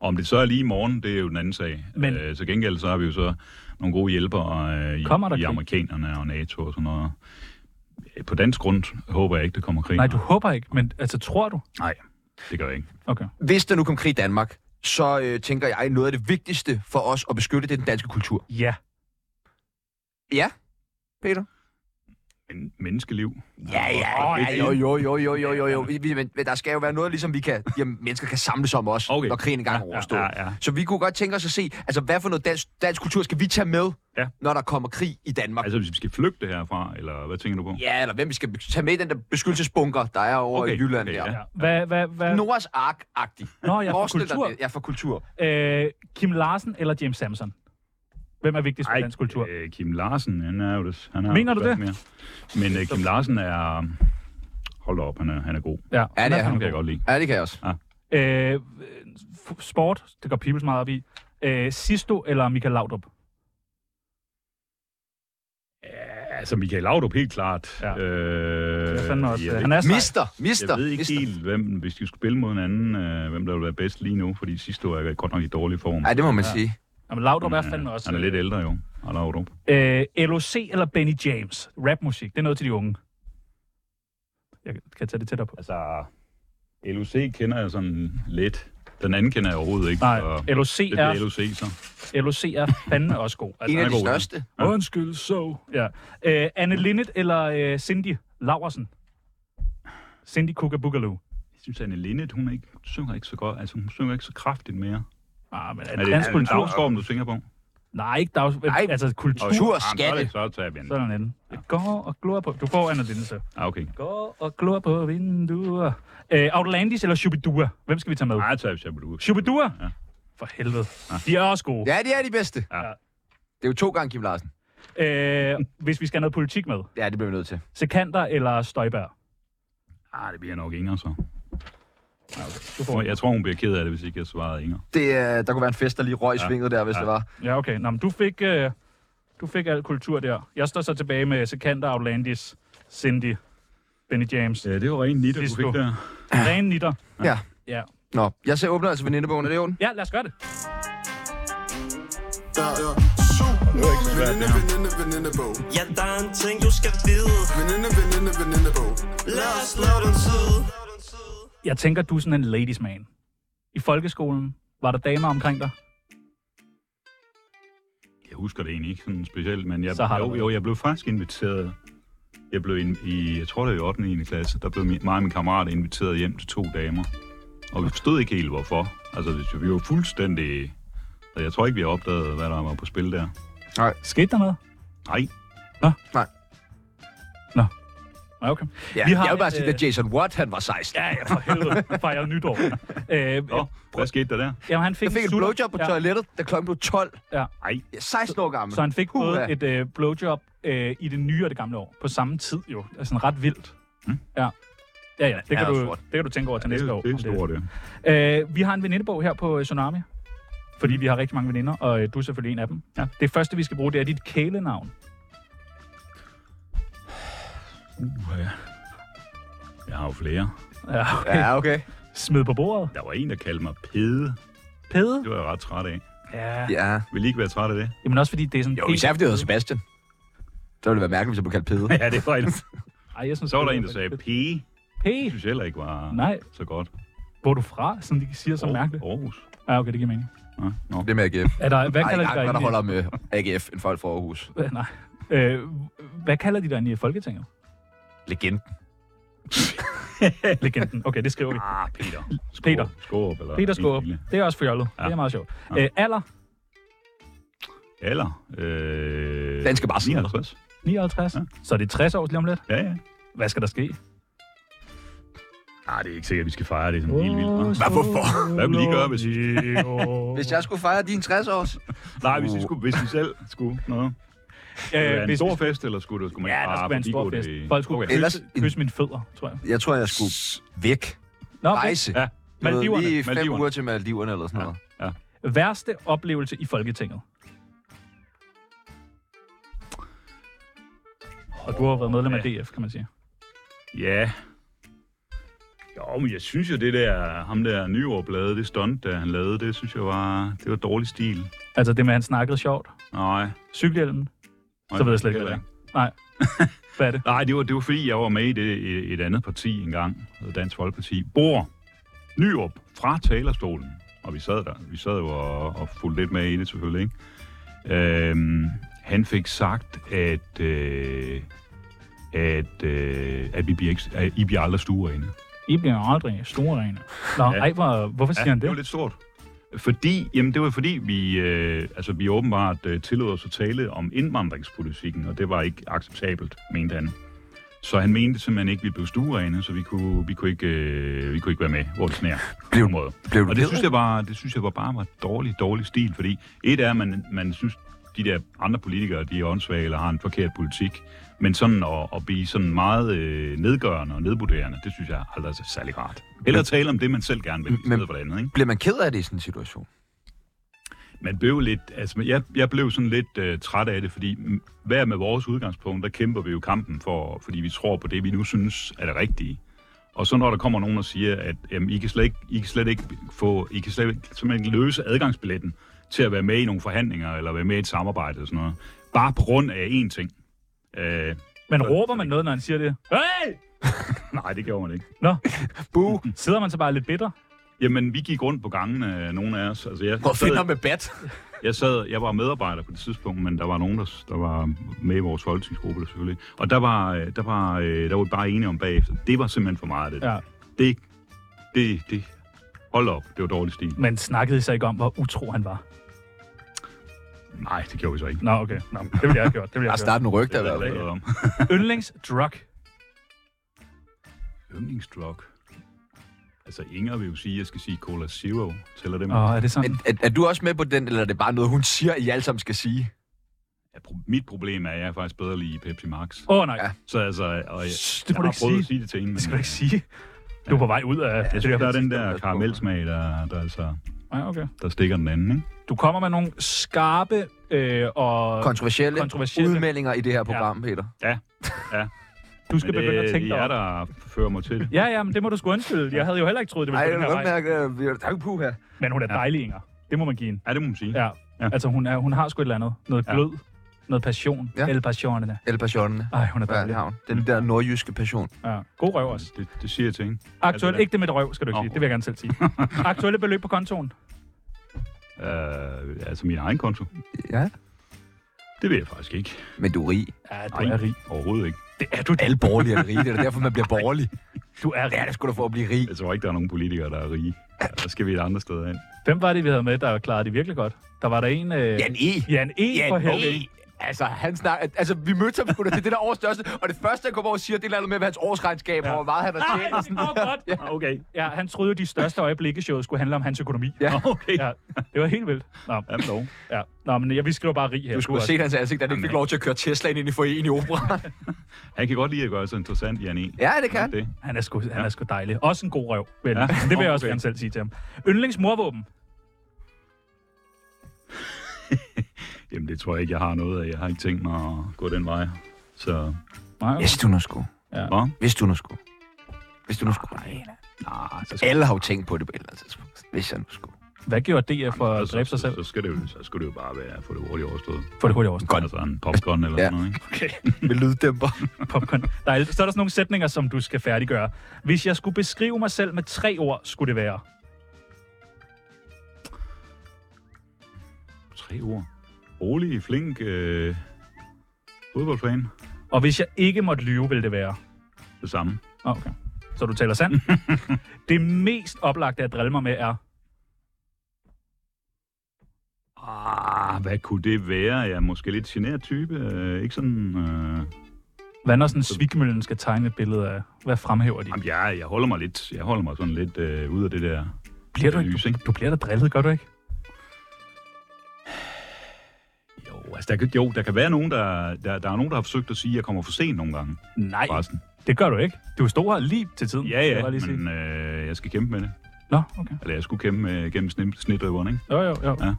Speaker 2: Om det så er lige i morgen, det er jo den anden sag.
Speaker 3: Men-
Speaker 2: øh, til gengæld så har vi jo så nogle gode hjælpere øh, i,
Speaker 3: Kommer der
Speaker 2: i
Speaker 3: krig?
Speaker 2: amerikanerne og NATO og sådan noget. Øh, På dansk grund håber jeg ikke, det kommer krig.
Speaker 3: Nej, du håber ikke, men altså tror du?
Speaker 2: Nej, det gør jeg ikke.
Speaker 3: Okay.
Speaker 1: Hvis der nu kom krig i Danmark, så øh, tænker jeg, noget af det vigtigste for os at beskytte, det er den danske kultur.
Speaker 3: Ja.
Speaker 1: Ja, Peter?
Speaker 2: Men menneskeliv.
Speaker 1: Ja, ja, ja, jo, jo, jo, jo, jo, jo, jo. Vi, vi- men, men der skal jo være noget, ligesom vi kan, jamen, mennesker kan samles om os, okay.
Speaker 2: Okay.
Speaker 1: når krigen engang er
Speaker 2: Ja, ja,
Speaker 1: overstået.
Speaker 2: ja, ja.
Speaker 1: Så vi kunne godt tænke os at se, altså hvad for noget dansk, dansk kultur skal vi tage med,
Speaker 2: Ja.
Speaker 1: når der kommer krig i Danmark? Altså,
Speaker 2: Altså, hvis vi skal flygte herfra, eller hvad tænker du på?
Speaker 1: ja, eller hvem vi skal tage med i den der beskyttelsesbunker, der er over okay.
Speaker 2: Okay,
Speaker 1: i Jylland
Speaker 2: okay,
Speaker 1: okay, der. Ja.
Speaker 2: ja.
Speaker 3: ja. Hvad, hvad, hvad?
Speaker 1: Noras Ark-agtig.
Speaker 3: Nå, jeg er fra
Speaker 1: Forestil dig
Speaker 3: kultur.
Speaker 1: det. Ja, for kultur.
Speaker 3: Øh, Kim Larsen eller James Samson? Hvem er vigtigst for
Speaker 2: Ej,
Speaker 3: dansk kultur?
Speaker 2: Øh, Kim Larsen, han er jo det. Han er
Speaker 3: Mener
Speaker 2: jo
Speaker 3: du det?
Speaker 2: Mere. Men øh, Kim Larsen er... Hold da op, han er, han er god.
Speaker 3: Ja,
Speaker 1: Ja, det er
Speaker 2: Han
Speaker 1: han.
Speaker 2: kan jeg godt lide.
Speaker 1: Ja, det kan jeg også.
Speaker 3: Øh, f- sport, det går Peoples meget op i. Øh, Sisto eller Michael Laudrup?
Speaker 2: Altså, Michael Laudrup, helt klart.
Speaker 3: Ja.
Speaker 2: Øh,
Speaker 3: Det er fandme også,
Speaker 2: jeg
Speaker 3: øh,
Speaker 2: ved-
Speaker 3: han er sej.
Speaker 1: Mister, mister,
Speaker 2: Jeg ved ikke
Speaker 1: mister.
Speaker 2: helt, hvem, hvis de skulle spille mod hinanden, øh, hvem der ville være bedst lige nu, fordi sidste år er jeg godt nok i dårlig form.
Speaker 1: Ja, det må man ja. sige.
Speaker 3: Jamen, Laudrup er
Speaker 2: Men, øh,
Speaker 3: fandme også.
Speaker 2: Han er lidt ældre jo, og Laudrup.
Speaker 3: Øh, LOC eller Benny James? Rapmusik, det er noget til de unge. Jeg kan tage det tættere på.
Speaker 2: Altså, LOC kender jeg sådan lidt. Den anden kender jeg overhovedet ikke.
Speaker 3: Nej,
Speaker 2: så
Speaker 3: LOC
Speaker 2: det
Speaker 3: er,
Speaker 2: bliver LOC så.
Speaker 3: LOC er fandme også god. Altså,
Speaker 1: En af
Speaker 2: han er
Speaker 1: de
Speaker 2: god, ja.
Speaker 1: største.
Speaker 2: Ja.
Speaker 3: Undskyld, så. Ja. Øh, Anne Linnet eller øh, Cindy Laversen? Cindy Kukaboogaloo.
Speaker 2: Jeg synes, Anne Linnet, hun er ikke, synger ikke så godt. Altså, hun synger ikke så kraftigt mere.
Speaker 3: Ah, men er
Speaker 2: Er
Speaker 3: det
Speaker 2: det, er
Speaker 3: dansk
Speaker 2: det
Speaker 3: kultur?
Speaker 2: dagsformen, du tænker på?
Speaker 3: Nej, ikke dags...
Speaker 1: Nej.
Speaker 3: Altså kultur.
Speaker 1: Kultur,
Speaker 2: Ah, men så er
Speaker 1: skatte.
Speaker 2: det- Så tager vi den.
Speaker 3: Sådan en. Jeg går og glor på... Du får Anne Linnet, så.
Speaker 2: Ah, okay.
Speaker 3: Går og glor på vinduer. Øh, Outlandis eller Shubidua? Hvem skal vi tage med?
Speaker 2: Nej, tager vi Shabadoo.
Speaker 3: Shubidua?
Speaker 2: Ja.
Speaker 3: For helvede. De er også gode.
Speaker 1: Ja, det er de bedste.
Speaker 2: Ja.
Speaker 1: Det er jo to gange Kim Larsen.
Speaker 3: Øh, hvis vi skal have noget politik med.
Speaker 1: Ja, det bliver vi nødt til.
Speaker 3: Sekander eller Støjberg?
Speaker 2: Ah, det bliver nok Inger så.
Speaker 3: Du får
Speaker 2: Nå, Jeg tror, hun bliver ked af det, hvis ikke jeg svarede Inger.
Speaker 1: Det, øh, der kunne være en fest, der lige røg i svinget der, hvis ja. det var.
Speaker 3: Ja, okay. Nå, men du fik, øh, du fik al kultur der. Jeg står så tilbage med Sekander, Outlandis, Cindy, Benny James.
Speaker 2: Ja, det var rent nitter,
Speaker 3: Sidst
Speaker 2: du
Speaker 3: du.
Speaker 2: fik der.
Speaker 3: Rene nitter.
Speaker 1: Ja.
Speaker 3: Ja.
Speaker 1: Nå, jeg ser åbner altså venindebogen, er det i orden?
Speaker 3: ja, lad os gøre det.
Speaker 6: Der er syv veninde, veninde, venindebog.
Speaker 5: Ja, der er en ting, du skal vide
Speaker 6: Veninde, veninde, venindebog.
Speaker 5: Lad os slå den tid
Speaker 3: Jeg tænker, du er sådan en ladies man. I folkeskolen, var der damer omkring dig?
Speaker 2: Jeg husker det egentlig ikke sådan specielt, men jeg,
Speaker 3: Så har du
Speaker 2: jo,
Speaker 3: det.
Speaker 2: jo, jeg blev faktisk inviteret. Jeg blev ind i, jeg tror det var i 8. og 9. klasse, der blev min, mig og min kammerat inviteret hjem til to damer. Og vi forstod ikke helt, hvorfor. Altså, hvis vi var fuldstændig... og Jeg tror ikke, vi har opdaget, hvad der var på spil der.
Speaker 3: Skete der noget?
Speaker 2: Nej,
Speaker 3: Nej, Ah, okay.
Speaker 1: Ja,
Speaker 3: Vi har
Speaker 1: jeg vil bare
Speaker 3: et, øh,
Speaker 1: sige, at Jason Watt, han var 16.
Speaker 3: Ja, ja, for helvede. Jeg fejrer nytår. Øh,
Speaker 2: Nå, hvad skete der der?
Speaker 3: jamen, han fik,
Speaker 1: Jeg fik
Speaker 3: en
Speaker 1: et
Speaker 3: sutter.
Speaker 1: blowjob på
Speaker 3: ja,
Speaker 1: toilettet, da klokken blev 12.
Speaker 3: Ja.
Speaker 2: Ej.
Speaker 1: Ja, 16 år gammel.
Speaker 3: Så han fik
Speaker 1: Puha.
Speaker 3: både et øh, blowjob øh, i det nye og det gamle år. På samme tid jo. Altså ret vildt.
Speaker 2: Mm.
Speaker 3: Ja. Ja, ja, det
Speaker 1: er
Speaker 3: kan,
Speaker 1: også
Speaker 3: du,
Speaker 1: sort.
Speaker 3: det kan du tænke over
Speaker 2: Det,
Speaker 3: til næste år.
Speaker 2: er- det er
Speaker 3: om
Speaker 2: stort, det.
Speaker 3: Øh, vi har en venindebog her på øh, Tsunami, fordi vi har rigtig mange veninder, og øh, du er selvfølgelig en af dem.
Speaker 2: Ja.
Speaker 3: Det første, vi skal bruge, det er dit kælenavn.
Speaker 2: Uh, ja. Jeg har jo flere.
Speaker 3: Ja.
Speaker 1: Ja, okay.
Speaker 3: Smid på bordet.
Speaker 2: Der var en, der kaldte mig Pede.
Speaker 3: Pede.
Speaker 2: Det var jeg ret træt af.
Speaker 3: Ja.
Speaker 1: Ja.
Speaker 2: Vil I ikke være træt af det?
Speaker 3: Jamen også fordi det er sådan...
Speaker 1: Jo, især fordi jeg hedder Sebastian. Så ville det være mærkeligt, hvis jeg blev kaldt pede.
Speaker 2: Ja, det var en.
Speaker 3: Ej, jeg synes,
Speaker 2: Så var der en, der sagde Pige. Det
Speaker 3: Pede.
Speaker 2: synes jeg heller ikke var
Speaker 3: Nej.
Speaker 2: så godt.
Speaker 3: Hvor er du fra? Sådan de siger så mærkeligt.
Speaker 2: Aarhus.
Speaker 3: Ja, okay, det giver mening.
Speaker 2: Ja, nå.
Speaker 1: Det med AGF.
Speaker 3: Er der, hvad
Speaker 1: Ej,
Speaker 3: kalder
Speaker 1: jeg
Speaker 3: de
Speaker 1: er
Speaker 3: dig
Speaker 1: der
Speaker 3: inde
Speaker 1: holder med AGF, end folk fra Aarhus.
Speaker 3: i... (laughs) Nej. Øh, hvad kalder de dig inde i Folketinget?
Speaker 1: Legenden.
Speaker 3: Legenden. Okay, det skriver vi.
Speaker 2: Ah, Peter. Skåb,
Speaker 3: Peter.
Speaker 2: Skåb, eller
Speaker 3: Peter Skåb.
Speaker 2: Egil.
Speaker 3: Det er også fjollet. Ja. Det er meget sjovt. Ja. Æ, alder?
Speaker 2: Eller... Øh,
Speaker 1: Den skal bare sidde der.
Speaker 2: 59.
Speaker 3: 59. Ja. Så er det 60 år lige om lidt.
Speaker 2: Ja, ja.
Speaker 3: Hvad skal der ske?
Speaker 2: Nej, Ah, det er ikke sikkert, at vi skal fejre det sådan helt vildt. hva'?
Speaker 1: Hvad, hvorfor?
Speaker 2: Hvad vil I gøre, hvis vi...
Speaker 1: Hvis jeg skulle fejre din 60 års.
Speaker 2: Nej, hvis vi, skulle, hvis vi selv skulle noget. Skulle det
Speaker 3: Æh,
Speaker 2: være en
Speaker 3: hvis,
Speaker 2: stor fest, eller skulle, det, skulle man
Speaker 3: Ja, der
Speaker 2: bare
Speaker 3: skulle være en stor
Speaker 2: forbigå
Speaker 3: fest.
Speaker 2: det i-
Speaker 3: Folk skulle
Speaker 2: Okay.
Speaker 3: okay.
Speaker 1: Ellers
Speaker 3: kysse,
Speaker 1: en-
Speaker 3: kysse mine fødder, tror jeg.
Speaker 1: Jeg tror, jeg skulle væk.
Speaker 3: Nå, okay.
Speaker 1: Rejse.
Speaker 2: Ja,
Speaker 1: Du ved,
Speaker 3: Maldiverne.
Speaker 1: Lige fem
Speaker 2: Maldiverne.
Speaker 1: uger til Maldiverne eller sådan noget.
Speaker 3: Værste oplevelse i Folketinget? Og du har været medlem af DF, kan man sige.
Speaker 2: Ja. Jo, men jeg synes jo, det der, ham der Nyrup lavede, det stunt, der han lavede, det synes jeg var, det var dårlig stil.
Speaker 3: Altså det med, at han snakkede sjovt.
Speaker 2: Nej.
Speaker 3: Cykelhjelmen.
Speaker 2: nej,
Speaker 3: Så ved jeg slet ikke,
Speaker 2: heller
Speaker 3: hvad det er. Nej. Hvad er det?
Speaker 2: Nej, det var, det var fordi, jeg var med i det, i et andet parti engang, hedder Dansk Folkeparti. Bor Nyrup fra talerstolen, og vi sad der. Vi sad jo og, og fulgte lidt med i det selvfølgelig, ikke? Øhm, han fik sagt, at, øh, at, øh, at, vi bliver ikke, at I bliver aldrig stuerinde.
Speaker 3: I bliver aldrig store rene. Nå, ja.
Speaker 2: Ja.
Speaker 3: ej, hvor, hvorfor siger ja, han
Speaker 2: det var
Speaker 3: det?
Speaker 2: lidt stort. Fordi, jamen det var fordi, vi, øh, altså, vi åbenbart øh, tillod os at tale om indvandringspolitikken, og det var ikke acceptabelt, mente han. Så han mente simpelthen ikke, at vi blev stuerene, så vi kunne, vi kunne, ikke, øh, vi kunne ikke være med, hvor det sneer.
Speaker 1: Blev-
Speaker 2: På en måde.
Speaker 1: blev du
Speaker 2: og
Speaker 1: ked
Speaker 2: det
Speaker 1: af
Speaker 2: synes, jeg var, det synes jeg var bare var dårlig, dårlig stil, fordi et er, at man, man synes, de der andre politikere, de er åndssvage eller har en forkert politik, men sådan at, at blive sådan meget øh, nedgørende og nedvurderende, det synes jeg aldrig er særlig rart. Eller tale om det, man selv gerne vil, i
Speaker 1: Men-
Speaker 2: stedet for det andet, ikke?
Speaker 1: Bliver man ked af det i sådan en situation?
Speaker 2: man blev lidt, altså jeg, jeg blev sådan lidt øh, træt af det, fordi mm, hver med vores udgangspunkt, der kæmper vi jo kampen for, fordi vi tror på det, vi nu synes er det rigtige. Og så når der kommer nogen og siger, at jamen, I, kan slet ikke, I kan slet ikke få, I kan slet ikke, simpelthen ikke løse adgangsbilletten til at være med i nogle forhandlinger, eller være med i et samarbejde og sådan noget, bare på grund af én ting. Øh,
Speaker 3: Men råber man noget, når han siger det? Hey!
Speaker 2: nej, det gjorde man ikke.
Speaker 3: Nå,
Speaker 1: Boo.
Speaker 3: sidder man så bare lidt bitter?
Speaker 2: Jamen, vi gik rundt på gangen, øh, nogle af os. Altså, jeg,
Speaker 1: Hvor
Speaker 2: sad-
Speaker 1: finder med bat?
Speaker 2: jeg sad, jeg var medarbejder på det tidspunkt, men der var nogen, der, der var med i vores folketingsgruppe der selvfølgelig. Og der var, øh, der, var, øh, der var vi bare enige om bagefter. Det var simpelthen for meget af det.
Speaker 3: Ja.
Speaker 2: Det, det, det, hold op, det var dårlig stil.
Speaker 3: Men snakkede I så ikke om, hvor utro han var?
Speaker 2: Nej, det gjorde vi så ikke.
Speaker 3: Nå, okay. Nå, det ville jeg have gjort. Det ville
Speaker 1: Der er
Speaker 3: jeg have gjort.
Speaker 1: snart en rygte i hvert
Speaker 2: Det
Speaker 1: fald.
Speaker 2: var om.
Speaker 3: Yndlingsdrug.
Speaker 2: Yndlingsdrug. Altså, Inger vil jo sige, at jeg skal sige Cola Zero. Tæller det med?
Speaker 3: Åh, er det sådan?
Speaker 1: Men er, er du også med på den, eller er det bare noget, hun siger, I alle sammen skal sige?
Speaker 2: Ja, pro- mit problem er, at jeg er faktisk bedre lige i Pepsi Max.
Speaker 3: Åh, oh, nej.
Speaker 1: Ja.
Speaker 2: Så altså, og jeg,
Speaker 3: Shh,
Speaker 2: jeg
Speaker 3: det må du
Speaker 2: har
Speaker 3: ikke
Speaker 2: prøvet
Speaker 3: sige.
Speaker 2: at sige det til hende.
Speaker 3: Det skal du
Speaker 2: men
Speaker 3: ikke sige. Du er på vej ud af...
Speaker 2: Jeg synes, der er den der karamelsmag, der, der, altså,
Speaker 3: Ja, okay.
Speaker 2: der stikker den anden, ikke?
Speaker 3: Du kommer med nogle skarpe øh, og...
Speaker 1: Kontroversielle,
Speaker 3: Kontroversielle.
Speaker 1: udmeldinger i det her program, ja. Peter.
Speaker 3: du skal
Speaker 2: Men
Speaker 3: begynde at tænke dig
Speaker 2: Det er
Speaker 3: om.
Speaker 2: jer, der fører mig til det.
Speaker 3: Ja, ja, men det må du sgu undskylde. Jeg havde jo heller ikke troet, det
Speaker 1: Nej,
Speaker 3: ville gå
Speaker 1: jeg
Speaker 3: den
Speaker 1: vil
Speaker 3: her
Speaker 1: godt
Speaker 3: vej.
Speaker 1: mærke, at vi er tak på her.
Speaker 3: Men hun er dejlig, Inger. Det må man give hende.
Speaker 2: Ja, det må man sige.
Speaker 3: Ja.
Speaker 2: Ja.
Speaker 3: Altså, hun, er, hun har sgu et eller andet. Noget
Speaker 2: Ja.
Speaker 3: glød. Noget passion.
Speaker 1: Ja.
Speaker 3: Ja. El passion, der.
Speaker 1: El Passionene.
Speaker 3: Ej, hun er dejlig.
Speaker 1: Havn. Den der nordjyske passion.
Speaker 3: Ja. God røv også.
Speaker 2: Det, det siger jeg til hende.
Speaker 3: Aktuelt,
Speaker 2: det er-
Speaker 3: ikke det med et røv, skal du ikke
Speaker 2: Nå.
Speaker 3: sige. Det vil jeg gerne selv (laughs) sige. Aktuelle beløb på kontoen.
Speaker 2: Øh, altså min egen konto.
Speaker 1: Ja.
Speaker 2: Det ved jeg faktisk ikke.
Speaker 1: Men du er rig.
Speaker 3: Ja, du
Speaker 2: Nej.
Speaker 3: er rig.
Speaker 2: Overhovedet ikke.
Speaker 3: Det er du.
Speaker 1: Alle borgerlige er rige. Det er da derfor, man bliver borgerlig.
Speaker 3: Du er
Speaker 1: Ja, (laughs) det
Speaker 3: rig.
Speaker 1: skulle da for at blive rig.
Speaker 2: Jeg tror ikke, der er nogen politikere, der er rige. Ja, Der skal vi et andet sted hen.
Speaker 3: Hvem var det, vi havde med, der klarede det virkelig godt? Der var der en... Øh...
Speaker 1: Jan E.
Speaker 3: Jan E. for helvede.
Speaker 1: E. Altså, han snak, altså, vi mødte ham sgu da til det der årsstørrelse, og det første, han kommer over og siger, det er noget med, med hans årsregnskab, ja. og hvor meget han har
Speaker 3: (laughs) Nej,
Speaker 1: tjent. og
Speaker 3: Ah, det
Speaker 1: sådan.
Speaker 3: går godt.
Speaker 2: Okay.
Speaker 3: Ja, han troede jo, de største øjeblikke i showet skulle handle om hans økonomi.
Speaker 1: Ja.
Speaker 3: (laughs)
Speaker 2: Okay.
Speaker 3: ja det var helt vildt. Nå,
Speaker 2: Jamen dog.
Speaker 3: ja. Nå men jeg, vi skriver bare rig her.
Speaker 1: Du skulle have set hans ansigt, da han ikke fik lov til at køre Teslaen ind i foreningen i
Speaker 3: (laughs)
Speaker 1: operaen.
Speaker 2: Han kan godt lide at gøre sig interessant, Jan E.
Speaker 1: Ja, det kan.
Speaker 2: Det.
Speaker 3: Han er sgu, han er sgu dejlig. Også en god røv. Vel. Ja. Det vil jeg også
Speaker 2: Okay.
Speaker 3: gerne selv sige til ham. Yndlingsmorvåben.
Speaker 2: Jamen, det tror jeg ikke, jeg har noget af. Jeg har ikke tænkt mig at gå den vej. Så,
Speaker 3: Nej, okay.
Speaker 1: Hvis du nu skulle.
Speaker 2: Nå?
Speaker 1: Hvis du nu skulle. Hvis du nu skulle.
Speaker 2: Nej, så
Speaker 1: Alle har jo tænkt på det på et eller andet tidspunkt. Hvis jeg nu skulle.
Speaker 3: Hvad gjorde DF for at dræbe sig selv?
Speaker 2: Så, så, skal det jo, så skulle det jo bare være at få det hurtigt overstået.
Speaker 3: For det hurtigt over.
Speaker 1: Godt.
Speaker 2: altså, Altså en popcorn eller
Speaker 1: Ja.
Speaker 2: ja. sådan noget, ikke?
Speaker 3: Okay.
Speaker 1: Med lyddæmper.
Speaker 3: Popcorn. Der er, så er der sådan nogle sætninger, som du skal færdiggøre. Hvis jeg skulle beskrive mig selv med tre ord, skulle det være.
Speaker 2: Tre ord. Rolig, flink, øh, fodboldfan.
Speaker 3: Og hvis jeg ikke måtte lyve, ville det være.
Speaker 2: Det samme.
Speaker 3: Nå, Okay.
Speaker 2: Så,
Speaker 3: så du
Speaker 2: (laughs)
Speaker 3: taler sandt. det mest oplagte at drille mig med er,
Speaker 2: Ah, hvad kunne det være? Jeg er måske lidt generet type. Øh, ikke sådan... Øh...
Speaker 3: hvad når sådan svigmøllen skal tegne et billede af, hvad fremhæver de?
Speaker 2: Jamen, jeg, jeg holder mig lidt... Jeg holder mig sådan lidt øh, ud af det der...
Speaker 3: Bliver du,
Speaker 2: lys,
Speaker 3: ikke, du,
Speaker 2: ikke?
Speaker 3: du bliver da drillet, gør du ikke?
Speaker 2: Jo, altså, der kan, jo, der kan være nogen, der, der... Der er nogen, der har forsøgt at sige, at jeg kommer for sent nogle gange.
Speaker 3: Nej,
Speaker 2: Forresten.
Speaker 3: det gør du ikke. Du står her lige til tiden.
Speaker 2: Ja,
Speaker 3: vil jeg
Speaker 2: ja,
Speaker 3: bare lige sige.
Speaker 2: men øh, jeg skal kæmpe med det.
Speaker 3: Nå, okay.
Speaker 2: Eller jeg skulle kæmpe med, gennem sne, snedriveren, ikke?
Speaker 3: Jo, jo, jo. Ja.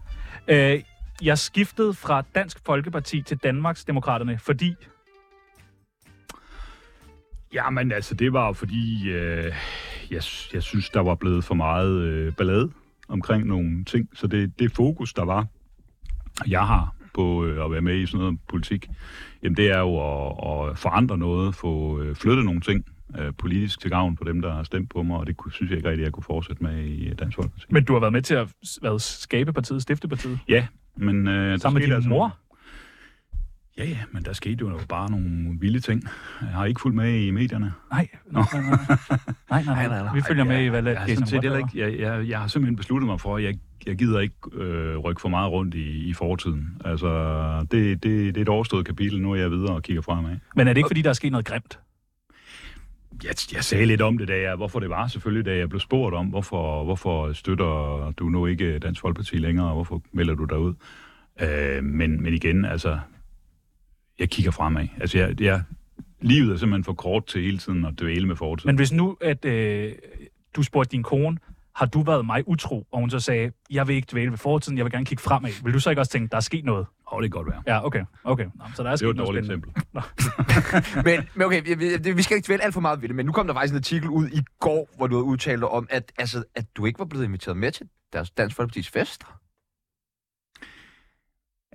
Speaker 3: Øh, jeg skiftede fra Dansk Folkeparti til Danmarks Demokraterne, fordi...
Speaker 2: Jamen, altså, det var jo fordi, øh, jeg, sy- jeg synes, der var blevet for meget øh, ballade omkring nogle ting. Så det, det fokus, der var, jeg har på øh, at være med i sådan noget politik, jamen det er jo at, at forandre noget, få øh, flyttet nogle ting øh, politisk til gavn for dem, der har stemt på mig, og det kunne, synes jeg ikke rigtigt, jeg kunne fortsætte med i øh, Dansk Folkeparti.
Speaker 3: Men du har været med til at hvad, skabe partiet, stifte partiet.
Speaker 2: Ja, men... Øh, der
Speaker 3: Sammen med
Speaker 2: skete
Speaker 3: din
Speaker 2: altså-
Speaker 3: mor?
Speaker 2: Ja, ja, men der skete jo bare nogle vilde ting. Jeg har ikke fulgt med i medierne.
Speaker 3: Nej, nej, nej,
Speaker 2: (laughs)
Speaker 3: nej. nej, nej, nej. Vi følger med i, hvad
Speaker 2: Jeg, har
Speaker 3: Jason
Speaker 2: sådan set heller
Speaker 3: Watt
Speaker 2: ikke, jeg, jeg, jeg har simpelthen besluttet mig for, at jeg, jeg gider ikke øh, rykke for meget rundt i, i fortiden. Altså, det, det, det er et overstået kapitel, nu er jeg videre og kigger fremad.
Speaker 3: laver. Men er det ikke, fordi der er sket noget grimt?
Speaker 2: Jeg, jeg sagde lidt om det, da jeg, hvorfor det var selvfølgelig, da jeg blev spurgt om, hvorfor, hvorfor støtter du nu ikke Dansk Folkeparti længere, og hvorfor melder du dig ud? Øh, men, men igen, altså, jeg kigger fremad. Altså, jeg, jeg, livet er simpelthen for kort til hele tiden at dvæle med fortiden.
Speaker 3: Men hvis nu, at øh, du spurgte din kone, har du været mig utro? Og hun så sagde, jeg vil ikke dvæle ved fortiden, jeg vil gerne kigge fremad. Vil du så ikke også tænke, der er sket noget?
Speaker 2: Åh, det kan godt være.
Speaker 3: Ja, okay, okay. Nå, så der
Speaker 2: Det er
Speaker 3: er sket
Speaker 2: jo et
Speaker 3: noget
Speaker 2: dårligt
Speaker 3: spændende.
Speaker 2: eksempel.
Speaker 1: Men, men okay, vi- vi, det- vi skal ikke dvæle alt for meget ved det, men nu kom der faktisk en artikel ud i går, hvor du havde udtalt dig om, at, altså, at du ikke var blevet inviteret med til deres Dansk Folkeparti's
Speaker 2: Øh,
Speaker 1: fester.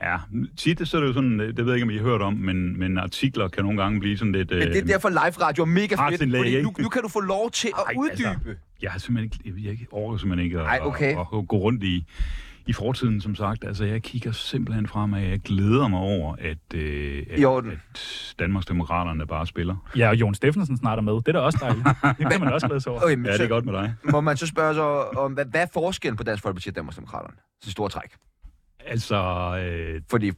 Speaker 2: Ja, tit så er det jo sådan, øh, det ved jeg ikke, om I har hørt om, men, men artikler kan nogle gange blive sådan lidt... øh,
Speaker 1: Men det er derfor live radio er mega fedt,
Speaker 2: Presindlæg,
Speaker 1: fordi nu,
Speaker 2: ikke?
Speaker 1: nu kan du få lov til at
Speaker 2: Ej, altså.
Speaker 1: uddybe.
Speaker 2: Jeg har simpelthen ikke, jeg, jeg overgår simpelthen ikke at,
Speaker 1: Ej, okay.
Speaker 2: at, at, gå rundt i, i fortiden, som sagt. Altså, jeg kigger simpelthen fremad. Jeg glæder mig over, at, øh, at,
Speaker 1: I orden.
Speaker 2: at Danmarksdemokraterne bare spiller.
Speaker 3: Ja, og Jon Steffensen snart er med. Det er da også dejligt. Det kan man også glæde
Speaker 2: (laughs)
Speaker 3: sig over.
Speaker 1: Okay, men
Speaker 2: Ja, det er
Speaker 1: så,
Speaker 2: godt med dig.
Speaker 1: må man så spørge sig om, hvad, hvad er forskellen på Dansk Folkeparti og Danmarksdemokraterne? Så store træk.
Speaker 2: Altså, øh,
Speaker 1: Fordi det,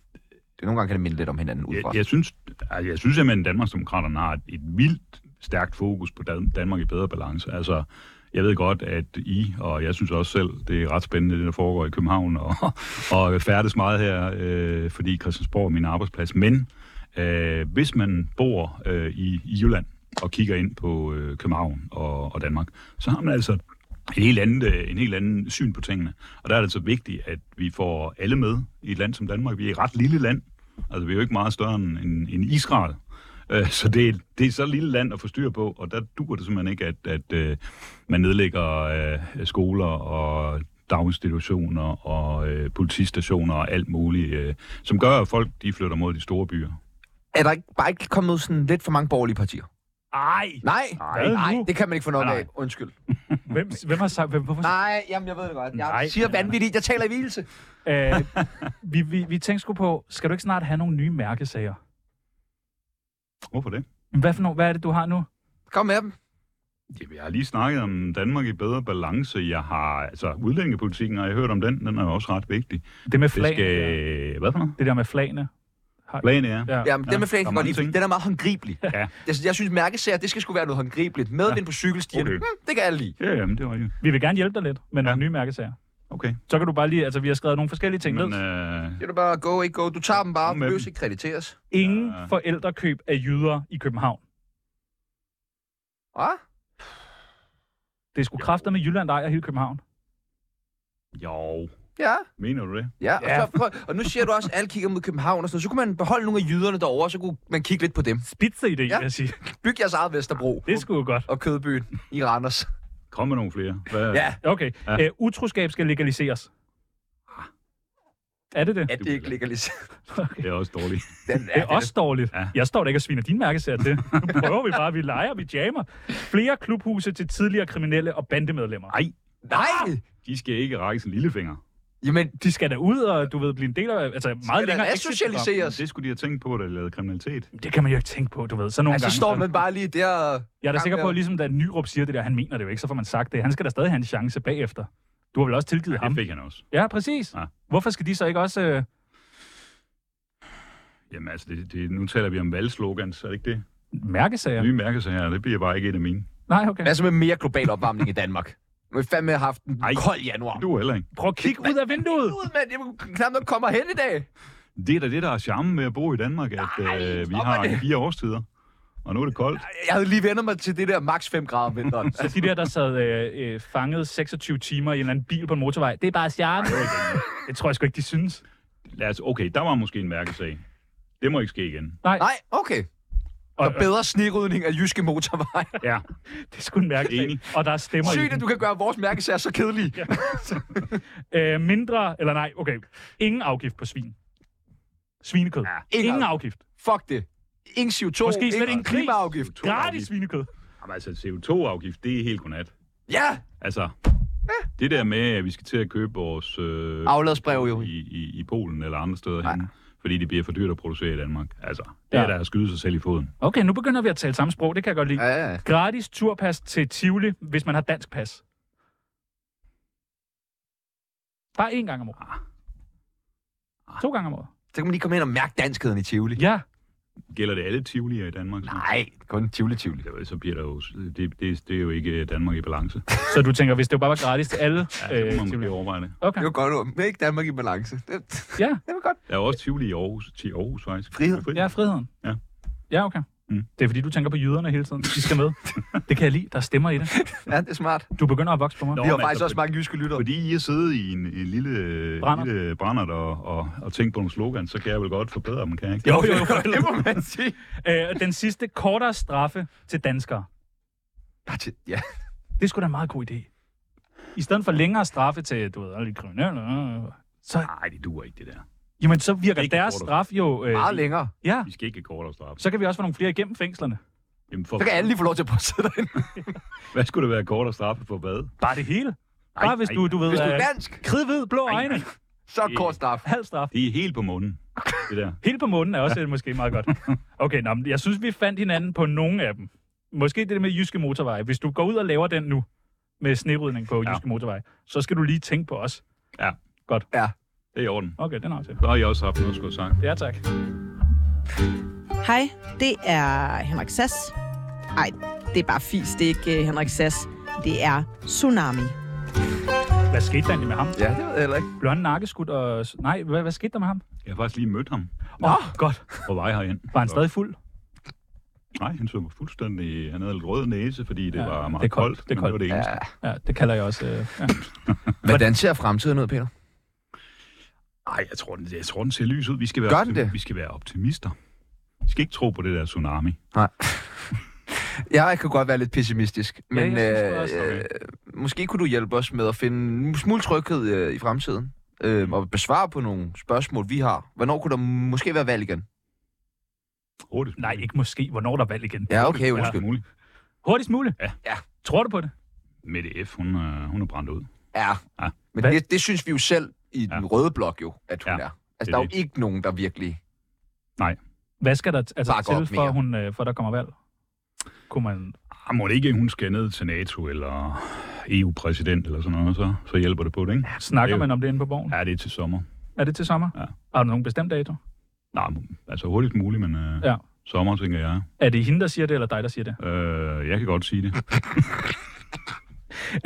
Speaker 1: nogle gange kan det minde lidt om hinanden ud fra.
Speaker 2: jeg, jeg, synes, altså, jeg synes simpelthen, at Danmarksdemokraterne har et, et vildt stærkt fokus på Dan- Danmark i bedre balance. Altså, jeg ved godt, at I, og jeg synes også selv, det er ret spændende, det der foregår i København, og, (laughs) og færdes meget her, øh, fordi Christiansborg er min arbejdsplads. Men øh, hvis man bor øh, i, i Jylland og kigger ind på øh, København og, og Danmark, så har man altså en helt, anden, øh, en helt anden syn på tingene. Og der er det altså vigtigt, at vi får alle med i et land som Danmark. Vi er et ret lille land. Altså, vi er jo ikke meget større end, end, end Israel. Øh, Så det er, det er så lille land at få styr på, og der duer det simpelthen ikke, at, at øh, man nedlægger øh, skoler og daginstitutioner og øh, politistationer og alt muligt, øh, som gør, at folk de flytter mod de store byer.
Speaker 1: Er der ikke, bare ikke kommet sådan lidt for mange borgerlige partier?
Speaker 3: Ej,
Speaker 1: Nej,
Speaker 3: Hvad
Speaker 1: nej,
Speaker 3: nu?
Speaker 1: det kan man ikke få nok
Speaker 2: Nej.
Speaker 1: af. Undskyld.
Speaker 3: hvem, hvem har sagt, hvem, hvorfor
Speaker 1: Nej, jamen jeg ved det godt. Jeg
Speaker 3: Nej.
Speaker 1: siger vanvittigt, jeg taler i hvilelse.
Speaker 3: Øh, vi, vi, vi tænkte sgu på, skal du ikke snart have nogle nye mærkesager?
Speaker 2: Hvorfor det?
Speaker 3: Hvad, for nogle, hvad er det, du har nu?
Speaker 1: Kom med dem.
Speaker 2: Jamen, jeg har lige snakket om Danmark i bedre balance. Jeg har, altså, udlændingepolitikken har jeg hørt om den. Den er jo også ret vigtig.
Speaker 3: Det med
Speaker 2: Det
Speaker 3: flagene.
Speaker 2: skal...
Speaker 3: Skal...
Speaker 2: Hvad for noget?
Speaker 3: Det der med flagene.
Speaker 2: Plan er.
Speaker 3: Ja.
Speaker 1: Jamen, den med flagen
Speaker 2: der er
Speaker 1: kan jeg godt
Speaker 2: mange
Speaker 1: lide, fordi
Speaker 2: ting.
Speaker 1: den er meget håndgribelig.
Speaker 2: Ja.
Speaker 1: Jeg, jeg synes, mærkesager, det skal sgu være noget håndgribeligt. Medvind på cykelstierne,
Speaker 2: Okay.
Speaker 1: okay. hmm, det kan alle lide.
Speaker 2: Ja, jamen, det var jo.
Speaker 3: Vi vil gerne hjælpe dig lidt med nogle nye mærkesager.
Speaker 2: Okay.
Speaker 3: Så kan du bare lige, altså vi har skrevet nogle forskellige ting
Speaker 2: Men,
Speaker 3: ned.
Speaker 2: øh,
Speaker 1: Det er da bare go, ikke go. Du tager dem bare,
Speaker 2: Kom med
Speaker 1: løs
Speaker 2: dem.
Speaker 1: ikke krediteres.
Speaker 3: Ingen
Speaker 2: ja.
Speaker 3: forældrekøb af jyder i København.
Speaker 1: Ah?
Speaker 3: Det er sgu kræfter med Jylland, der ejer hele København.
Speaker 2: jo,
Speaker 1: Ja,
Speaker 2: mener du det?
Speaker 1: ja. Og, så, prøv, og nu siger du også, at alle kigger mod København og sådan noget. Så kunne man beholde nogle af jyderne derovre, så kunne man kigge lidt på dem.
Speaker 3: Spitze i det, ja.
Speaker 1: Ja.
Speaker 3: vil jeg sige.
Speaker 1: Byg jeres eget Vesterbro
Speaker 3: Det er sgu godt.
Speaker 1: og Kødbyen i Randers.
Speaker 2: Kom med nogle flere. Hvad,
Speaker 1: Ja,
Speaker 3: Okay. Ja.
Speaker 2: Ja.
Speaker 3: Æ, utroskab skal legaliseres. Ah. Er det det?
Speaker 1: at det ikke ligger lige...
Speaker 2: Det er også dårligt.
Speaker 1: (laughs) Den
Speaker 3: Det er også dårligt. Ja.
Speaker 2: Ja.
Speaker 3: Jeg står da ikke og sviner din mærkesager til. Nu prøver vi bare, vi leger, vi jammer. Flere klubhuse til tidligere kriminelle og bandemedlemmer.
Speaker 2: Ej,
Speaker 1: Nej!
Speaker 2: de skal ikke række sin lillefinger.
Speaker 1: Jamen,
Speaker 3: De skal da ud og, du ved, blive en del af, altså meget
Speaker 1: skal
Speaker 3: længere
Speaker 1: da
Speaker 3: exit-program.
Speaker 1: resocialiseres.
Speaker 2: Det skulle de have tænkt på, da de lavede kriminalitet.
Speaker 3: Det kan man jo ikke tænke på, du ved. Så nogle
Speaker 1: Altså,
Speaker 3: gange,
Speaker 1: så står
Speaker 3: så-
Speaker 1: man bare lige der... og-
Speaker 3: Jeg er da
Speaker 1: gang
Speaker 3: sikker på,
Speaker 1: der.
Speaker 3: at ligesom da Nyrup siger det der, han mener det jo ikke, så får man sagt det. Han skal da stadig have en chance bagefter. Du har vel også tilgivet
Speaker 2: Det
Speaker 3: ham?
Speaker 2: fik han også.
Speaker 3: Ja, præcis.
Speaker 2: Ja.
Speaker 3: Hvorfor skal de så ikke også... Øh...
Speaker 2: Jamen altså, det, det, nu taler vi om valgslogans, er det ikke det?
Speaker 3: mærkesager.
Speaker 2: Nye mærkesager, det bliver bare ikke en af mine.
Speaker 3: Nej, okay.
Speaker 1: Hvad så med mere global opvarmning i Danmark? Nu har vi fandme haft en
Speaker 2: Ej.
Speaker 1: kold januar.
Speaker 2: Du er heller ikke.
Speaker 3: Prøv at kigge ud af vinduet.
Speaker 1: ud, mand. Jeg kunne knap nok komme hen i dag.
Speaker 2: Det er da det, der er charmen med at bo i Danmark, at
Speaker 1: Nej,
Speaker 2: øh, vi
Speaker 1: stop med
Speaker 2: har
Speaker 1: det.
Speaker 2: fire årstider. Og nu er det koldt.
Speaker 1: Jeg havde lige vendt mig til det der maks 5 grader om vinteren.
Speaker 3: Så de der, der sad øh, øh, fanget 26 timer i en eller anden bil på en motorvej, det er bare charme. Det tror jeg sgu ikke, de synes.
Speaker 2: Lad os, okay, der var måske en mærkesag. Det må ikke ske igen.
Speaker 3: Nej,
Speaker 1: Nej, okay. Og bedre snerydning af jyske motorvej.
Speaker 3: ja. det er sgu en mærkesag.
Speaker 2: Enig.
Speaker 3: Og der er stemmer i
Speaker 1: Sygt,
Speaker 3: den.
Speaker 1: at du kan gøre vores mærkesager så kedelige. Ja.
Speaker 3: (laughs) Øh, mindre, eller nej, okay. Ingen afgift på svin. Svinekød. Ja,
Speaker 1: ingen
Speaker 3: ingen
Speaker 1: afgift. Fuck
Speaker 3: afgift.
Speaker 1: det. Ingen CO2,
Speaker 3: Måske slet
Speaker 1: ingen
Speaker 3: ikke en gris.
Speaker 1: klimaafgift.
Speaker 2: To
Speaker 3: Gratis
Speaker 2: afgift.
Speaker 3: svinekød.
Speaker 2: Jamen, altså, CO2-afgift, det er helt godnat.
Speaker 1: Ja,
Speaker 2: Altså, det der med, at vi skal til at købe vores øh,
Speaker 1: afladsbrev jo.
Speaker 2: i, i, i Polen eller andre steder
Speaker 1: Nej.
Speaker 2: hen, fordi det bliver for dyrt at producere i Danmark. Altså, det
Speaker 3: Ja.
Speaker 2: er der at skyde sig selv i foden.
Speaker 3: Okay, nu begynder vi at tale samme sprog, det kan jeg godt lide.
Speaker 1: Ja, ja.
Speaker 3: Gratis turpas til Tivoli, hvis man har dansk pas. Bare én gang om året. To gange om året.
Speaker 1: Så kan man lige komme hen og mærke danskheden i Tivoli.
Speaker 3: Ja,
Speaker 2: Gælder det alle tivolier i Danmark? så?
Speaker 1: Nej, kun Tivoli-Tivoli.
Speaker 2: Ja, Så bliver der jo, det, det, det er jo ikke Danmark i
Speaker 1: (laughs)
Speaker 2: balance.
Speaker 3: så du tænker, hvis det jo bare var gratis til alle.
Speaker 2: Ja, så
Speaker 3: øh,
Speaker 2: kunne man måske
Speaker 3: Tivoli.
Speaker 2: overveje det.
Speaker 3: okay,
Speaker 1: Det var godt, men ikke Danmark i balance. Det,
Speaker 3: ja,
Speaker 1: det var godt.
Speaker 2: Der er jo også Tivoli i Aarhus, til Aarhus faktisk.
Speaker 1: Frihed.
Speaker 3: ja, friheden.
Speaker 2: Ja.
Speaker 3: Ja, okay.
Speaker 2: Mm.
Speaker 3: Det er fordi, du tænker på jyderne hele tiden. De skal
Speaker 2: (laughs)
Speaker 3: med. Det kan jeg lide. Der stemmer i det.
Speaker 1: Ja, det er smart.
Speaker 3: Du begynder at vokse på mig.
Speaker 2: Nå,
Speaker 1: Vi har
Speaker 2: men
Speaker 1: faktisk
Speaker 2: altså,
Speaker 1: også mange jyske lyttere.
Speaker 2: Fordi I har siddet i en, en lille
Speaker 3: Brandert.
Speaker 2: brændert, lille brændert og, og, og tænkt på nogle slogan, så kan jeg vel godt forbedre dem, kan jeg ikke?
Speaker 3: Jo, jo, jo.
Speaker 1: (laughs) det må man sige.
Speaker 3: Øh, den sidste kortere straffe til danskere.
Speaker 1: Ja, det- Ja.
Speaker 3: Det er sgu da en meget god idé. I stedet for længere straffe til, du ved, alle de kriminelle, øh, så,
Speaker 2: Nej, det duer ikke, det der.
Speaker 3: jamen, så virker
Speaker 2: Ikke
Speaker 3: deres
Speaker 2: kortere.
Speaker 3: straf jo... Øh,
Speaker 1: Meget længere.
Speaker 3: ja,
Speaker 2: Vi skal ikke have kortere straf.
Speaker 3: så kan vi også få nogle flere igennem fængslerne.
Speaker 2: Jamen, for,
Speaker 1: Så kan alle lige få lov til at påsætte dig ind.
Speaker 2: Hvad skulle der være kortere straf for hvad?
Speaker 3: Bare det hele. Bare hvis
Speaker 2: ej,
Speaker 3: du, du ved...
Speaker 1: Hvis du er
Speaker 3: øh,
Speaker 1: dansk,
Speaker 3: Kridhvid, blå
Speaker 2: Ej,
Speaker 3: øjne,
Speaker 2: ej.
Speaker 1: så er det kort straf.
Speaker 3: halv straf.
Speaker 2: Det er helt på munden, det der.
Speaker 3: Hele på munden er også ja. måske meget godt. Okay, nå, men jeg synes, vi fandt hinanden på nogle af dem. Måske det der med jyske motorveje. Hvis du går ud og laver den nu, med snerydning på
Speaker 2: Ja.
Speaker 3: jyske motorveje, så skal du lige tænke på os.
Speaker 2: Det er i orden.
Speaker 3: Okay, den er aftalt.
Speaker 2: Så har jeg også haft noget at skulle have sagt.
Speaker 3: Ja, tak.
Speaker 8: Hej, det er Henrik Sass. Nej, det er bare fis, det er ikke øh, Henrik Sass. Det er Tsunami.
Speaker 3: Hvad skete der egentlig med ham?
Speaker 1: Ja, det ved jeg heller ikke.
Speaker 3: Blev han nakkeskudt og... Nej, hvad, hvad skete der med ham?
Speaker 2: Jeg har faktisk lige mødt ham
Speaker 3: Åh, oh, godt.
Speaker 2: på vej herind.
Speaker 3: Var han stadig fuld?
Speaker 2: Nej, han så fuldstændig... Han havde lidt rød næse, fordi det
Speaker 3: Ja,
Speaker 2: ja, var meget
Speaker 3: det er koldt, det er
Speaker 2: men
Speaker 3: koldt.
Speaker 2: Det var det eneste.
Speaker 1: Ja.
Speaker 3: Ja, det kalder jeg også... Øh, ja.
Speaker 1: Hvordan ser fremtiden ud, Peter?
Speaker 2: Nej, jeg tror, den, jeg tror, den ser lys ud. Vi skal være,
Speaker 1: Gør den
Speaker 2: optim-
Speaker 1: det?
Speaker 2: Vi skal være optimister. Vi skal ikke tro på det der tsunami.
Speaker 1: Jeg kan godt være lidt pessimistisk, men
Speaker 3: jeg synes også,
Speaker 1: øh, øh, måske kunne du hjælpe os med at finde en smule tryghed øh, i fremtiden. Øh, og besvare på nogle spørgsmål, vi har. Hvornår kunne der måske være valg igen?
Speaker 2: Hurtigt.
Speaker 3: Nej, ikke måske. Hvornår er der valg igen?
Speaker 1: Ja, okay,
Speaker 2: Hurtigst
Speaker 1: undskyld.
Speaker 2: muligt.
Speaker 3: Hurtigst muligt?
Speaker 2: Ja.
Speaker 1: Ja.
Speaker 3: Tror du på det?
Speaker 2: Mette F., hun, er, hun er brændt ud.
Speaker 1: Ja,
Speaker 2: Ja.
Speaker 1: men
Speaker 3: Hvad-
Speaker 1: det, det synes vi jo selv i den
Speaker 2: Ja.
Speaker 1: røde blok jo, at hun er.
Speaker 2: Ja,
Speaker 1: Altså,
Speaker 2: det
Speaker 1: der
Speaker 2: er
Speaker 1: er jo ikke nogen, der virkelig...
Speaker 3: Hvad skal der t- altså,
Speaker 1: Bakke op
Speaker 3: til, for,
Speaker 1: mere.
Speaker 3: hun, øh, for der kommer valg? Kunne man...
Speaker 2: Ah, må det ikke, hun skal ned til NATO eller EU-præsident eller sådan noget, så, så hjælper det på det, ikke?
Speaker 3: Snakker
Speaker 2: det er jo-
Speaker 3: man om det inde på borgen? Ja.
Speaker 2: Ja, det er til sommer.
Speaker 3: Er det til sommer?
Speaker 2: Ja.
Speaker 3: Har du nogen bestemt dato?
Speaker 2: Nej, altså hurtigst muligt, men øh,
Speaker 3: Ja.
Speaker 2: ja. sommer, tænker jeg.
Speaker 3: Er det hende, der siger det, eller dig, der siger det?
Speaker 2: Øh, jeg kan godt sige
Speaker 1: (laughs)
Speaker 2: det.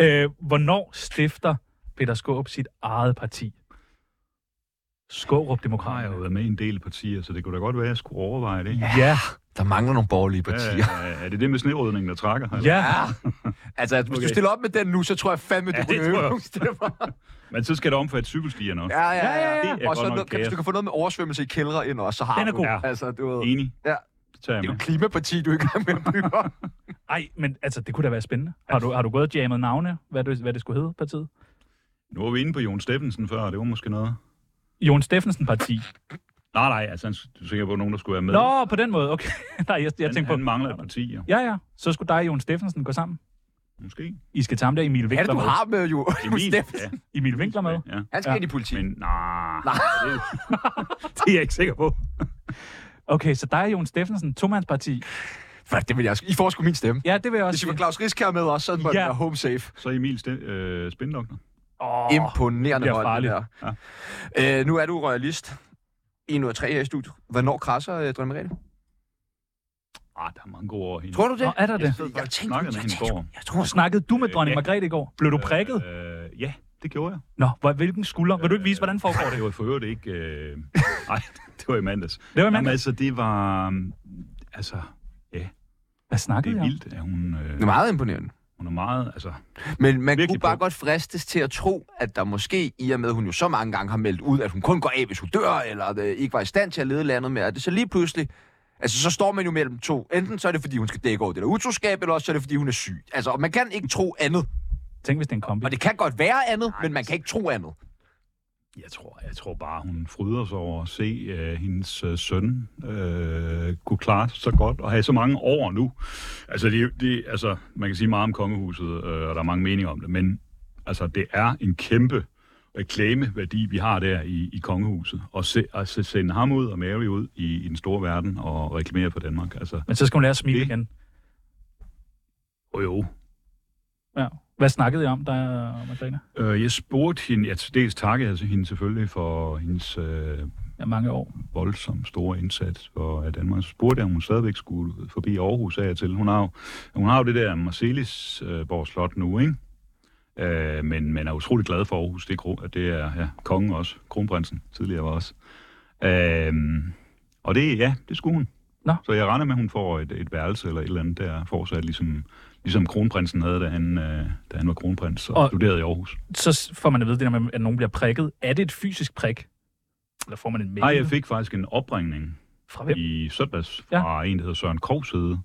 Speaker 3: Øh, hvornår stifter Peter Skåb sit eget parti? Skårup
Speaker 2: Har jeg jo
Speaker 3: Demokrater.
Speaker 2: været med i en del partier, så det kunne da godt være, at jeg skulle overveje det. Ja.
Speaker 3: Ja,
Speaker 1: Der mangler nogle borgerlige partier.
Speaker 2: Er, er det det med snerydningen, der trækker? eller?
Speaker 3: ja.
Speaker 1: (laughs) Altså, hvis okay. du
Speaker 2: Okay.
Speaker 1: stiller op med den nu, så tror jeg fandme, du
Speaker 2: Ja,
Speaker 1: ja, kunne
Speaker 2: det tror
Speaker 1: øve
Speaker 2: jeg
Speaker 1: nogle
Speaker 2: også.
Speaker 1: stemmer.
Speaker 2: Men så skal det omfatte cykelstierne også.
Speaker 1: Ja, ja,
Speaker 3: Ja,
Speaker 1: ja.
Speaker 3: ja, ja.
Speaker 1: ja,
Speaker 2: Det er
Speaker 1: Og så
Speaker 2: godt nok
Speaker 1: noget, kan, hvis
Speaker 2: kaos.
Speaker 1: du kan få noget med oversvømmelse i kældre ind også, så har
Speaker 3: Den er
Speaker 1: du
Speaker 3: god.
Speaker 1: det. Altså, du ved,
Speaker 2: Enig?
Speaker 1: Ja.
Speaker 2: Det tager jeg
Speaker 1: det er jo
Speaker 2: med.
Speaker 1: klimaparti, du er i gang med at bygge op.
Speaker 3: Ej, men altså, det kunne da være spændende. Har du, har du gået og jammet navne, hvad det, hvad det skulle hedde, partiet?
Speaker 2: Nu var vi inde på Jon Steffensen før, og det var måske noget.
Speaker 3: Jon Steffensen-parti.
Speaker 2: Nej, nej, altså han- du tænker på nogen, der skulle være med.
Speaker 3: Nå, på den måde, okay. (laughs) Nej, jeg, jeg
Speaker 2: jeg
Speaker 3: tænkte
Speaker 2: han,
Speaker 3: på...
Speaker 2: han mangler et parti, jo.
Speaker 3: Ja, ja. Så skulle dig og Jon Steffensen gå sammen.
Speaker 2: Måske.
Speaker 3: I skal tage ham der Emil
Speaker 1: Hvad er det,
Speaker 3: Winkler
Speaker 1: du
Speaker 3: med.
Speaker 1: har med, jo? (laughs)
Speaker 2: Emil,
Speaker 1: Steff?
Speaker 2: ja.
Speaker 3: Emil Winkler med.
Speaker 2: Ja.
Speaker 1: Han skal
Speaker 3: Ja.
Speaker 1: ja. ind i politik.
Speaker 2: Men
Speaker 1: Men...
Speaker 2: nej, det, (laughs) det er jeg ikke sikker på.
Speaker 3: Okay, så dig og Jon Steffensen, tomandsparti.
Speaker 1: Fuck, det vil jeg også. I får sgu min stemme.
Speaker 3: Ja, det vil jeg også
Speaker 1: Hvis vi får
Speaker 3: sige.
Speaker 1: Claus Risk her med også, så må
Speaker 3: Ja.
Speaker 1: ja. være home safe.
Speaker 2: Så Emil Ste- øh, Spindokner.
Speaker 3: Åh,
Speaker 1: Imponerende
Speaker 3: det bliver
Speaker 1: hold, det her. Ja. Øh, nu er du royalist. 1 ud af 3 her i studiet. Hvornår krasser øh, Drømme Merete?
Speaker 2: Ah, der er mange gode år hende.
Speaker 1: Tror du det?
Speaker 3: Nå, er der det?
Speaker 2: Jeg tænkte, jeg tænkte, jeg tænkte,
Speaker 1: Jeg tror, snak.
Speaker 3: Snakkede du med
Speaker 2: Øh,
Speaker 3: dronning
Speaker 2: ja.
Speaker 3: Margrethe i går? Blev du prikket?
Speaker 2: Øh, ja, det gjorde jeg.
Speaker 3: Nå, hvor- hvilken skulder? Vil du ikke vise, hvordan foregår det?
Speaker 2: (laughs) Det var for øvrigt ikke... Øh... Nej, (laughs) det var i mandags.
Speaker 3: Det var i
Speaker 2: Jamen,
Speaker 3: mandags.
Speaker 2: altså, det var... mm, Altså,
Speaker 3: Hvad
Speaker 2: det
Speaker 3: snakkede
Speaker 2: er
Speaker 3: jeg om?
Speaker 2: vildt, at hun, øh,
Speaker 1: Det er meget imponerende.
Speaker 2: hun er meget... Altså,
Speaker 1: Men man
Speaker 2: Virkelig
Speaker 1: kunne bare
Speaker 2: på.
Speaker 1: godt fristes til at tro, at der måske, i og med at hun jo så mange gange har meldt ud, at hun kun går af, hvis hun dør, eller øh, ikke var i stand til at lede landet med, at det så lige pludselig, altså så står man jo mellem to. Enten så er det, fordi hun skal dække over det der utroskab, eller også så er det, fordi hun er syg. Altså, og man kan ikke tro andet.
Speaker 3: Tænk, hvis det er en kombi.
Speaker 1: Og det kan godt være andet, men man kan ikke tro andet.
Speaker 2: jeg tror, jeg tror bare, hun fryder sig over at se øh, hendes øh, søn øh, kunne klare sig så godt og have så mange år nu. Altså, det, det, altså man kan sige meget om kongehuset, øh, og der er mange meninger om det, men altså, det er en kæmpe reklameværdi, vi har der i, i kongehuset. Og se, at se- sende ham ud og Mary ud i, i den store verden og reklamere for Danmark. Altså,
Speaker 3: Men så skal hun lære at smile
Speaker 2: Det-
Speaker 3: igen.
Speaker 2: jo jo,
Speaker 3: Ja. Hvad snakkede jeg om, der Margrethe?
Speaker 2: Øh, jeg spurgte hende, ja, til dels takkede jeg hende selvfølgelig for hendes øh,
Speaker 3: Ja, mange år.
Speaker 2: voldsomt store indsats for at Danmark. Så spurgte jeg, om hun stadigvæk skulle forbi Aarhus af og til. Hun har jo, hun har jo det der Marcelisborg Slot nu, ikke? Øh, men man er utrolig glad for Aarhus. Det er, kro- det er ja, kongen også. Kronprinsen tidligere var også. Øh, og det, ja, det skulle hun.
Speaker 3: Nå.
Speaker 2: Så jeg regner med, at hun får et, et værelse eller et eller andet der fortsat, ligesom, ligesom kronprinsen havde, da han, øh, da han var kronprins og,
Speaker 3: Og-
Speaker 2: og studerede i Aarhus.
Speaker 3: Så s- får man at vide det der med, at nogen bliver prikket. Er det et fysisk prik? Eller får man en mail?
Speaker 2: Nej, jeg fik faktisk en opringning
Speaker 3: Fra hvem?
Speaker 2: i søndags
Speaker 3: Ja.
Speaker 2: fra ja. en, der hedder Søren Krogsede,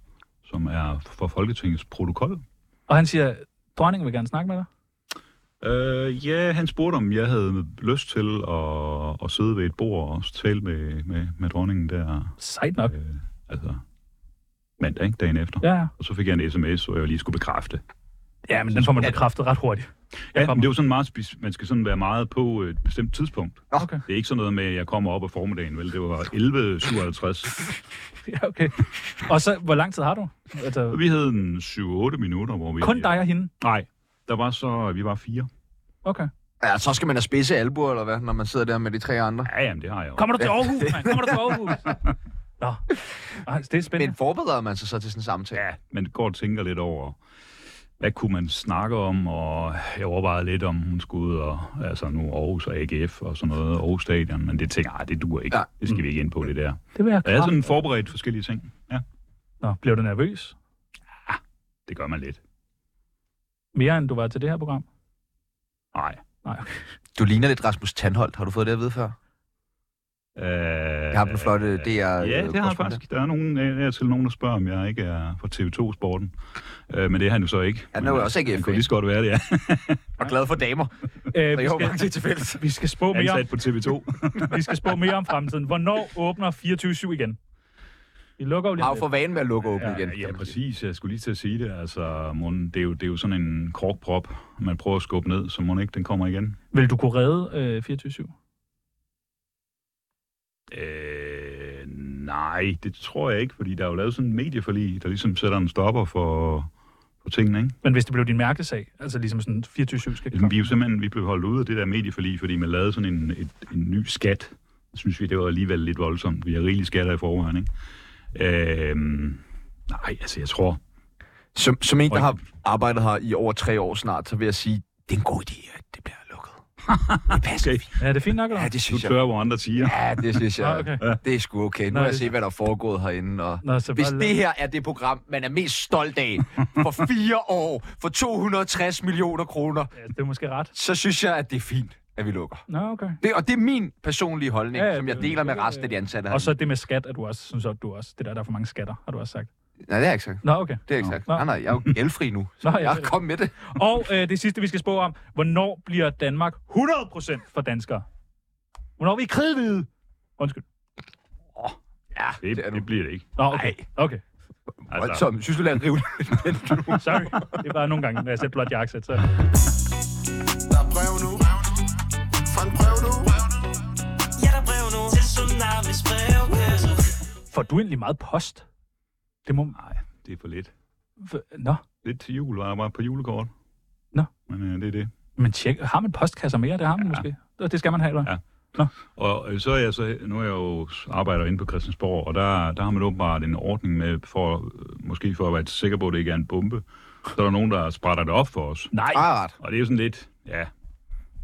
Speaker 2: som er for Folketingets protokol.
Speaker 3: Og han siger, dronningen vil gerne snakke med dig.
Speaker 2: Øh, ja, han spurgte, om jeg havde lyst til at, at sidde ved et bord og tale med, med, med dronningen der,
Speaker 3: Sejt nok.
Speaker 2: øh, altså mandag, ikke? dagen efter.
Speaker 3: Ja, ja.
Speaker 2: Og så fik jeg en sms, hvor jeg lige skulle bekræfte.
Speaker 3: Ja, men den får man bekræftet ret hurtigt. (laughs) Jeg
Speaker 2: Ja,
Speaker 3: kommer.
Speaker 2: men det er jo sådan meget, spec- man skal sådan være meget på et bestemt tidspunkt.
Speaker 3: Okay.
Speaker 2: Det er ikke sådan noget med, at jeg kommer op af formiddagen, vel? Det var 11.57.
Speaker 3: Ja, okay. Og så, hvor lang tid har du?
Speaker 2: Så
Speaker 3: Altså,
Speaker 2: Vi havde en 7-8 minutter, hvor vi...
Speaker 3: kun dig og hende?
Speaker 2: Nej, der var så, vi var fire.
Speaker 3: Okay.
Speaker 1: Ja, så skal man have spidse albuer, eller hvad, når man sidder der med de tre andre.
Speaker 2: Ja, jamen, det har jeg jo.
Speaker 3: Kommer du til Aarhus, mand? Kommer du til
Speaker 1: (laughs)
Speaker 3: Aarhus? Nå. Ej, det er spændende.
Speaker 1: Men forbereder man sig så til sådan en samtale? Ja.
Speaker 2: Man går og tænker lidt over, hvad kunne man snakke om, og jeg overvejede lidt om, hun skulle ud og, altså nu Aarhus og AGF og sådan noget, Aarhus Stadion, men det tænker jeg, "Ej, det duer ikke.
Speaker 1: Ja.
Speaker 2: Det skal vi ikke ind på, det der.
Speaker 3: Det vil jeg
Speaker 2: Jeg er
Speaker 3: kraft-
Speaker 2: sådan forberedt forskellige ting. Ja,
Speaker 3: Nå, blev du nervøs?
Speaker 2: det gør man lidt.
Speaker 3: Mere end du var til det her
Speaker 1: (laughs)
Speaker 3: program?
Speaker 2: Nej.
Speaker 3: Nej, okay.
Speaker 1: Du ligner lidt Rasmus Tandholt. Har du fået det at vide før?
Speaker 2: Øh,
Speaker 1: Jeg har den flotte øh, DR.
Speaker 2: Ja, det har jeg faktisk. Der er, nogen, der er til nogen, der spørger, om jeg ikke er fra TV2-sporten. Øh, men det er han jo så ikke.
Speaker 1: Han er jo
Speaker 2: Men,
Speaker 1: også ikke
Speaker 2: Han kunne
Speaker 1: FA.
Speaker 2: lige så godt være det, ja.
Speaker 1: Og glad for damer.
Speaker 3: Øh,
Speaker 1: Så
Speaker 3: vi,
Speaker 1: jeg håber, det er
Speaker 3: skal,
Speaker 1: til fælles.
Speaker 3: (laughs) vi, skal spå mere om,
Speaker 2: Ansat på TV2.
Speaker 3: vi skal spå mere om fremtiden. Hvornår åbner 24-7 igen? Vi lukker jo lige
Speaker 1: Har
Speaker 3: om
Speaker 1: jo for vanen med at lukke åbent igen.
Speaker 2: Ja, ja, præcis. Jeg skulle lige til at sige det. Altså, mon, det, er jo, det er jo sådan en korkprop, man prøver at skubbe ned, så må ikke den kommer igen.
Speaker 3: lidt. Vil du kunne redde øh, 24-7?
Speaker 2: Øh, nej, det tror jeg ikke, fordi der er jo lavet sådan en medieforlig, der ligesom sætter en stopper for, for tingene, ikke?
Speaker 3: Men hvis det blev din mærkesag, altså ligesom sådan 24-7 skal
Speaker 2: Altså, vi er jo simpelthen vi blev holdt ude af det der medieforlig, fordi man lavede sådan en, et, en ny skat. Det synes vi, det var alligevel lidt voldsomt. Vi har rigelige skatter i forvejen, ikke? Øh, nej, altså, jeg tror,
Speaker 1: Som, som en, der har arbejdet her i over tre år snart, så vil jeg sige, det er en god idé, at det bliver lukket. Det passer.
Speaker 2: Okay.
Speaker 1: Okay.
Speaker 3: Ja, det er fint nok, eller?
Speaker 1: Ja,
Speaker 3: hvad?
Speaker 1: det
Speaker 2: du
Speaker 1: synes jeg.
Speaker 2: tør, hvor andre siger.
Speaker 1: Ja, det synes jeg.
Speaker 3: Nå, Ah, okay.
Speaker 1: Det er sgu okay.
Speaker 3: Nå,
Speaker 1: Nu har jeg
Speaker 3: det-
Speaker 1: set, hvad der er foregået herinde. Og
Speaker 3: Nå, så
Speaker 1: hvis
Speaker 3: bare lad-
Speaker 1: det her er det program, man er mest stolt af
Speaker 3: (laughs)
Speaker 1: for fire år, for 260 millioner kroner,
Speaker 3: Ja, det er måske ret.
Speaker 1: så synes jeg, at det er fint, at vi lukker.
Speaker 3: Nå, okay.
Speaker 1: Det, og det er min personlige holdning,
Speaker 3: Ja,
Speaker 1: ja,
Speaker 3: ja,
Speaker 1: som
Speaker 3: det-
Speaker 1: jeg deler med
Speaker 3: det-
Speaker 1: resten af de ansatte her.
Speaker 3: Og så det med skat, at du også synes, at du også... Det der, der er for mange skatter, har du også sagt.
Speaker 1: Nej, det er ikke sagt.
Speaker 3: Nå, okay.
Speaker 1: Det er ikke sagt.
Speaker 3: Nå.
Speaker 1: Nej, nej, jeg er jo elfri nu. Så
Speaker 3: Nå, jeg
Speaker 1: jeg
Speaker 3: ved det.
Speaker 1: kom med det.
Speaker 3: Og øh, det sidste, vi skal spå om. Hvornår bliver Danmark 100% for danskere? Hvornår er vi kridhvide? Undskyld.
Speaker 1: Ja,
Speaker 2: Det, det,
Speaker 1: nu.
Speaker 2: det bliver det ikke.
Speaker 3: Nå, okay. okay.
Speaker 2: Altså,
Speaker 1: Som, synes du, det er en rivende
Speaker 3: (laughs) Sorry. Det er bare nogle gange, når jeg sætter blot jakkesæt, så...
Speaker 6: Der er brev nu. Fra en brev nu.
Speaker 5: Ja, der er brev nu til Tsunamis brevkasse.
Speaker 3: Får du egentlig meget post? Det må...
Speaker 2: nej, det er for lidt.
Speaker 3: f- Nå.
Speaker 2: Lidt til jul, var jeg bare på julekort.
Speaker 3: Nå.
Speaker 2: Men øh, det er det.
Speaker 3: Men tjek, har man postkasser mere? Det har man ja. måske. Det det skal man have, eller? hvad?
Speaker 2: Ja. Og øh, så er jeg så, nu er jeg jo arbejder inde på Christiansborg, og der, der har man åbenbart en ordning med, for, øh, måske for at være sikker på, at det ikke er en bombe. Så er der nogen, der sprætter det op for os.
Speaker 3: Nej,
Speaker 7: Art.
Speaker 2: Og det er jo sådan lidt, ja,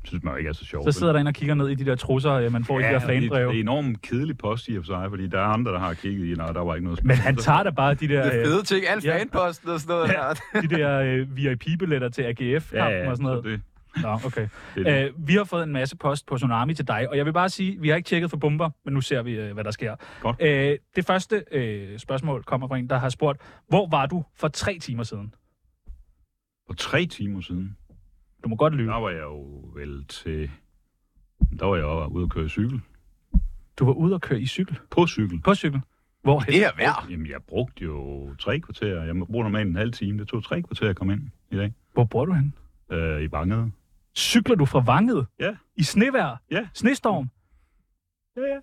Speaker 2: synes man jo ikke er så sjovt.
Speaker 3: så sidder der en og kigger ned i de der trusser, øh, man får ja, i de
Speaker 2: ja,
Speaker 3: der
Speaker 2: og det, det er
Speaker 3: fanbreve.
Speaker 2: enormt kedelig post i og for sig, fordi der er andre, der har kigget i, og der var ikke noget
Speaker 3: Men
Speaker 2: spændende.
Speaker 3: han tager da bare de der, øh,
Speaker 1: fede ting? Alt
Speaker 3: Ja.
Speaker 1: fanposten og sådan noget.
Speaker 3: Ja.
Speaker 1: Ja.
Speaker 3: de der øh, VIP-billetter til AGF-kampen
Speaker 2: ja, ja,
Speaker 3: og sådan
Speaker 2: så
Speaker 3: noget.
Speaker 2: det,
Speaker 3: Nå, okay.
Speaker 2: det, er det.
Speaker 3: Øh, vi har fået en masse post på Tsunami til dig, og jeg vil bare sige, vi har ikke tjekket for bomber, men nu ser vi, øh, hvad der sker.
Speaker 2: Godt.
Speaker 3: Øh, det første øh, spørgsmål kommer fra en, der har spurgt, hvor var du for tre timer siden?
Speaker 2: For tre timer siden,
Speaker 3: Du må godt lyve.
Speaker 2: der var jeg jo vel til... Der var jeg jo ude at køre i cykel.
Speaker 3: Du var ude og køre i cykel.
Speaker 2: På cykel.
Speaker 3: På cykel? Hvor
Speaker 1: Det er værd.
Speaker 2: Jamen, jeg brugte jo tre kvarter. Jeg bruger normalt en halv time. Det tog tre kvarter at komme ind i dag.
Speaker 3: Hvor bor du hen?
Speaker 2: Øh, I Bangede.
Speaker 3: Cykler du fra Vanget?
Speaker 2: Ja.
Speaker 3: I snevejr?
Speaker 2: Ja.
Speaker 3: Snestorm?
Speaker 2: Ja, ja.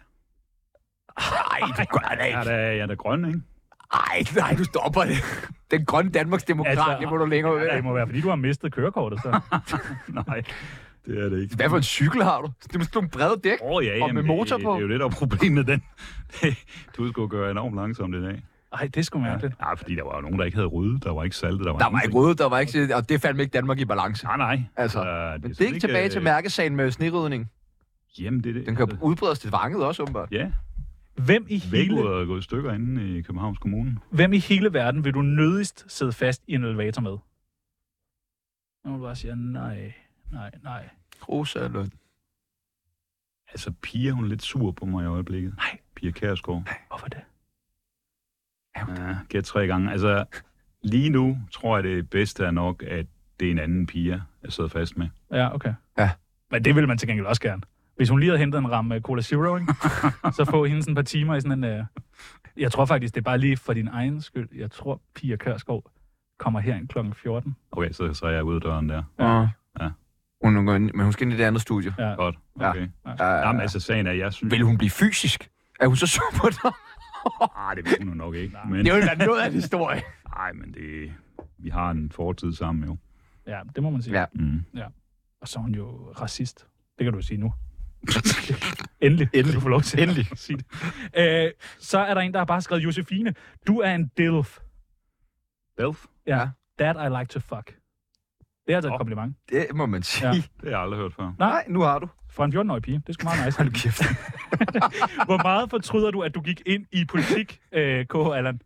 Speaker 1: Ej, du gør det
Speaker 2: Jeg er
Speaker 1: ikke.
Speaker 2: da, jeg er da grøn, ikke? (laughs)
Speaker 1: Ej, nej, du stopper det. Den grønne Danmarks Demokrat,
Speaker 3: Altså,
Speaker 1: altså, det må du længere ud.
Speaker 3: Ja, det
Speaker 1: Ja,
Speaker 3: må være, fordi du har mistet kørekortet, så.
Speaker 2: Nej, det er det ikke.
Speaker 1: Hvad for en cykel har du? Det er sådan nogle brede dæk.
Speaker 2: Åh, oh, ja,
Speaker 1: Og med
Speaker 2: jamen,
Speaker 1: motor
Speaker 2: det,
Speaker 1: på?
Speaker 2: Det er jo det, der er problemet, den. (laughs) du skulle gøre enormt langsomt i dag.
Speaker 3: (laughs) Ej, det er sgu mærkeligt.
Speaker 2: Ja, fordi der var jo nogen, der ikke havde ryddet, der var ikke saltet, der var
Speaker 1: Der var ikke
Speaker 2: ingenting.
Speaker 1: røde, der var ikke... Og det fandt ikke Danmark i balance.
Speaker 2: Nej, nej.
Speaker 1: Altså,
Speaker 2: er
Speaker 1: Men det er
Speaker 2: sådan
Speaker 1: ikke tilbage til
Speaker 2: øh,
Speaker 1: mærkesagen med snerydning.
Speaker 2: Jamen, det er det.
Speaker 1: Den kan
Speaker 2: Altså,
Speaker 1: udbredes til vanget også, åbenbart.
Speaker 2: Ja,
Speaker 3: Hvem i, hele,
Speaker 2: vægordet Altså, er gået i stykker inde i Københavns Kommune.
Speaker 3: hvem i hele verden vil du nødigst sidde fast i en elevator med? Nu må du bare sige, nej, nej, nej.
Speaker 1: Rosa Lund.
Speaker 2: Altså, Pia, hun er lidt sur på mig i øjeblikket.
Speaker 3: Nej.
Speaker 2: Pia Kærsgaard.
Speaker 3: Hvorfor det?
Speaker 2: Ja, gæt tre gange. Altså, lige nu tror jeg, det bedste er nok, at det er en anden Pia, jeg sidder fast med.
Speaker 3: Ja, okay.
Speaker 1: Ja.
Speaker 3: Men det ville man til gengæld også gerne. Hvis hun lige havde hentet en ramme øh, Cola Zero, (laughs) ikke? så få hende sådan et par timer i sådan en... Øh... Jeg tror faktisk, det er bare lige for din egen skyld. Jeg tror, Pia Kørskov kommer herind kl. 14.
Speaker 2: Okay, så, så er jeg ude af døren der.
Speaker 1: Ja.
Speaker 2: Ja.
Speaker 1: Hun er, gået ind- men hun skal ind i det andet studie.
Speaker 3: Ja.
Speaker 2: Godt,
Speaker 1: Ja.
Speaker 2: okay.
Speaker 1: Ja.
Speaker 2: Jamen, altså, sagen er, jeg synes...
Speaker 1: Vil hun blive fysisk? Er hun så sur på dig?
Speaker 2: Ah, det vil hun jo nok ikke. Men,
Speaker 1: Det vil være noget af en historie.
Speaker 2: nej, men det... Vi har en fortid sammen, jo.
Speaker 3: ja, det må man sige.
Speaker 1: Ja.
Speaker 2: Mm.
Speaker 3: Og så er hun jo racist. Det kan du sige nu. (laughs) Endelig. Endelig. Du får lov til Endelig. at (laughs) sige det. Øh, så er der en, der har bare skrevet, Josefine, du er en dilf.
Speaker 2: Belf?
Speaker 3: Ja.
Speaker 1: Ja.
Speaker 3: That I like to fuck. Det er altså et kompliment.
Speaker 1: Det må man sige.
Speaker 3: Ja.
Speaker 1: Ja.
Speaker 2: Det har jeg aldrig hørt før.
Speaker 1: Nej, nu har du.
Speaker 3: Fra en 14-årig pige. Det er sgu meget nice. (laughs) Hold kæft. Hvor meget fortryder du, at du gik ind i politik, øh, KH Allan?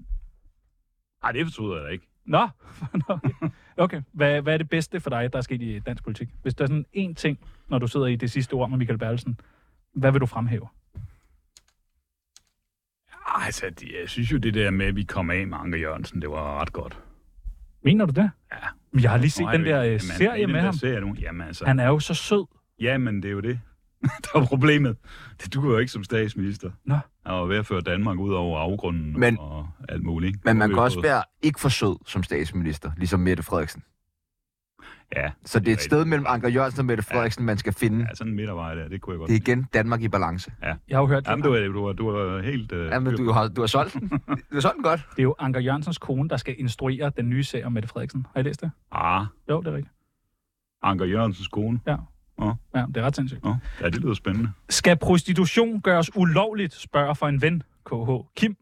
Speaker 2: Nej, det fortryder jeg da ikke.
Speaker 3: Nå. (laughs) Nå, okay. Hvad, hvad er det bedste for dig, der er sket i dansk politik? Hvis der er sådan én ting, når du sidder i det sidste ord med Michael Berlsen, hvad vil du fremhæve?
Speaker 2: Ah, Altså, det- jeg synes jo, det der med, at vi kom af med Anker Jørgensen, det var ret godt.
Speaker 3: Mener du det?
Speaker 2: Ja.
Speaker 3: Men jeg har lige set
Speaker 2: Nu er
Speaker 3: den
Speaker 2: det jo
Speaker 3: der
Speaker 2: ikke-
Speaker 3: øh,
Speaker 2: Jamen, i
Speaker 3: serie
Speaker 2: den
Speaker 3: med
Speaker 2: der
Speaker 3: ham.
Speaker 2: Serie nu. Jamen, altså,
Speaker 3: Han er jo så sød.
Speaker 2: Jamen, det er jo det. (laughs) der er problemet. Det duer jo ikke som statsminister.
Speaker 3: Nå.
Speaker 2: Han var ved at føre Danmark ud over afgrunden
Speaker 1: Men-
Speaker 2: og alt muligt. ikke?
Speaker 1: Men man
Speaker 2: Vi
Speaker 1: kan
Speaker 2: har
Speaker 1: også
Speaker 2: fået-
Speaker 1: være ikke for sød som statsminister, ligesom Mette Frederiksen.
Speaker 2: Ja,
Speaker 1: Så det er et
Speaker 2: rigtigt.
Speaker 1: sted mellem Anker Jørgensen og Mette Frederiksen, man skal finde.
Speaker 2: ja, sådan en midtervej der, det kunne jeg godt.
Speaker 1: Det er igen Danmark i balance.
Speaker 3: Jeg har jo hørt,
Speaker 2: Jamen, du, er- du, er- du er helt... Øh,
Speaker 1: Jamen, du har, du har solgt den. Du har solgt den godt.
Speaker 3: det er jo Anker Jørgensens kone, der skal instruere den nye serie om Mette Frederiksen. Har I læst det?
Speaker 2: Ah,
Speaker 3: Jo, det er rigtigt.
Speaker 2: Anker Jørgensens kone.
Speaker 3: Ja, det er ret sindssygt.
Speaker 2: Nå, ja, det lyder spændende.
Speaker 3: Skal prostitution gøres ulovligt, spørger for en ven, KH Kim.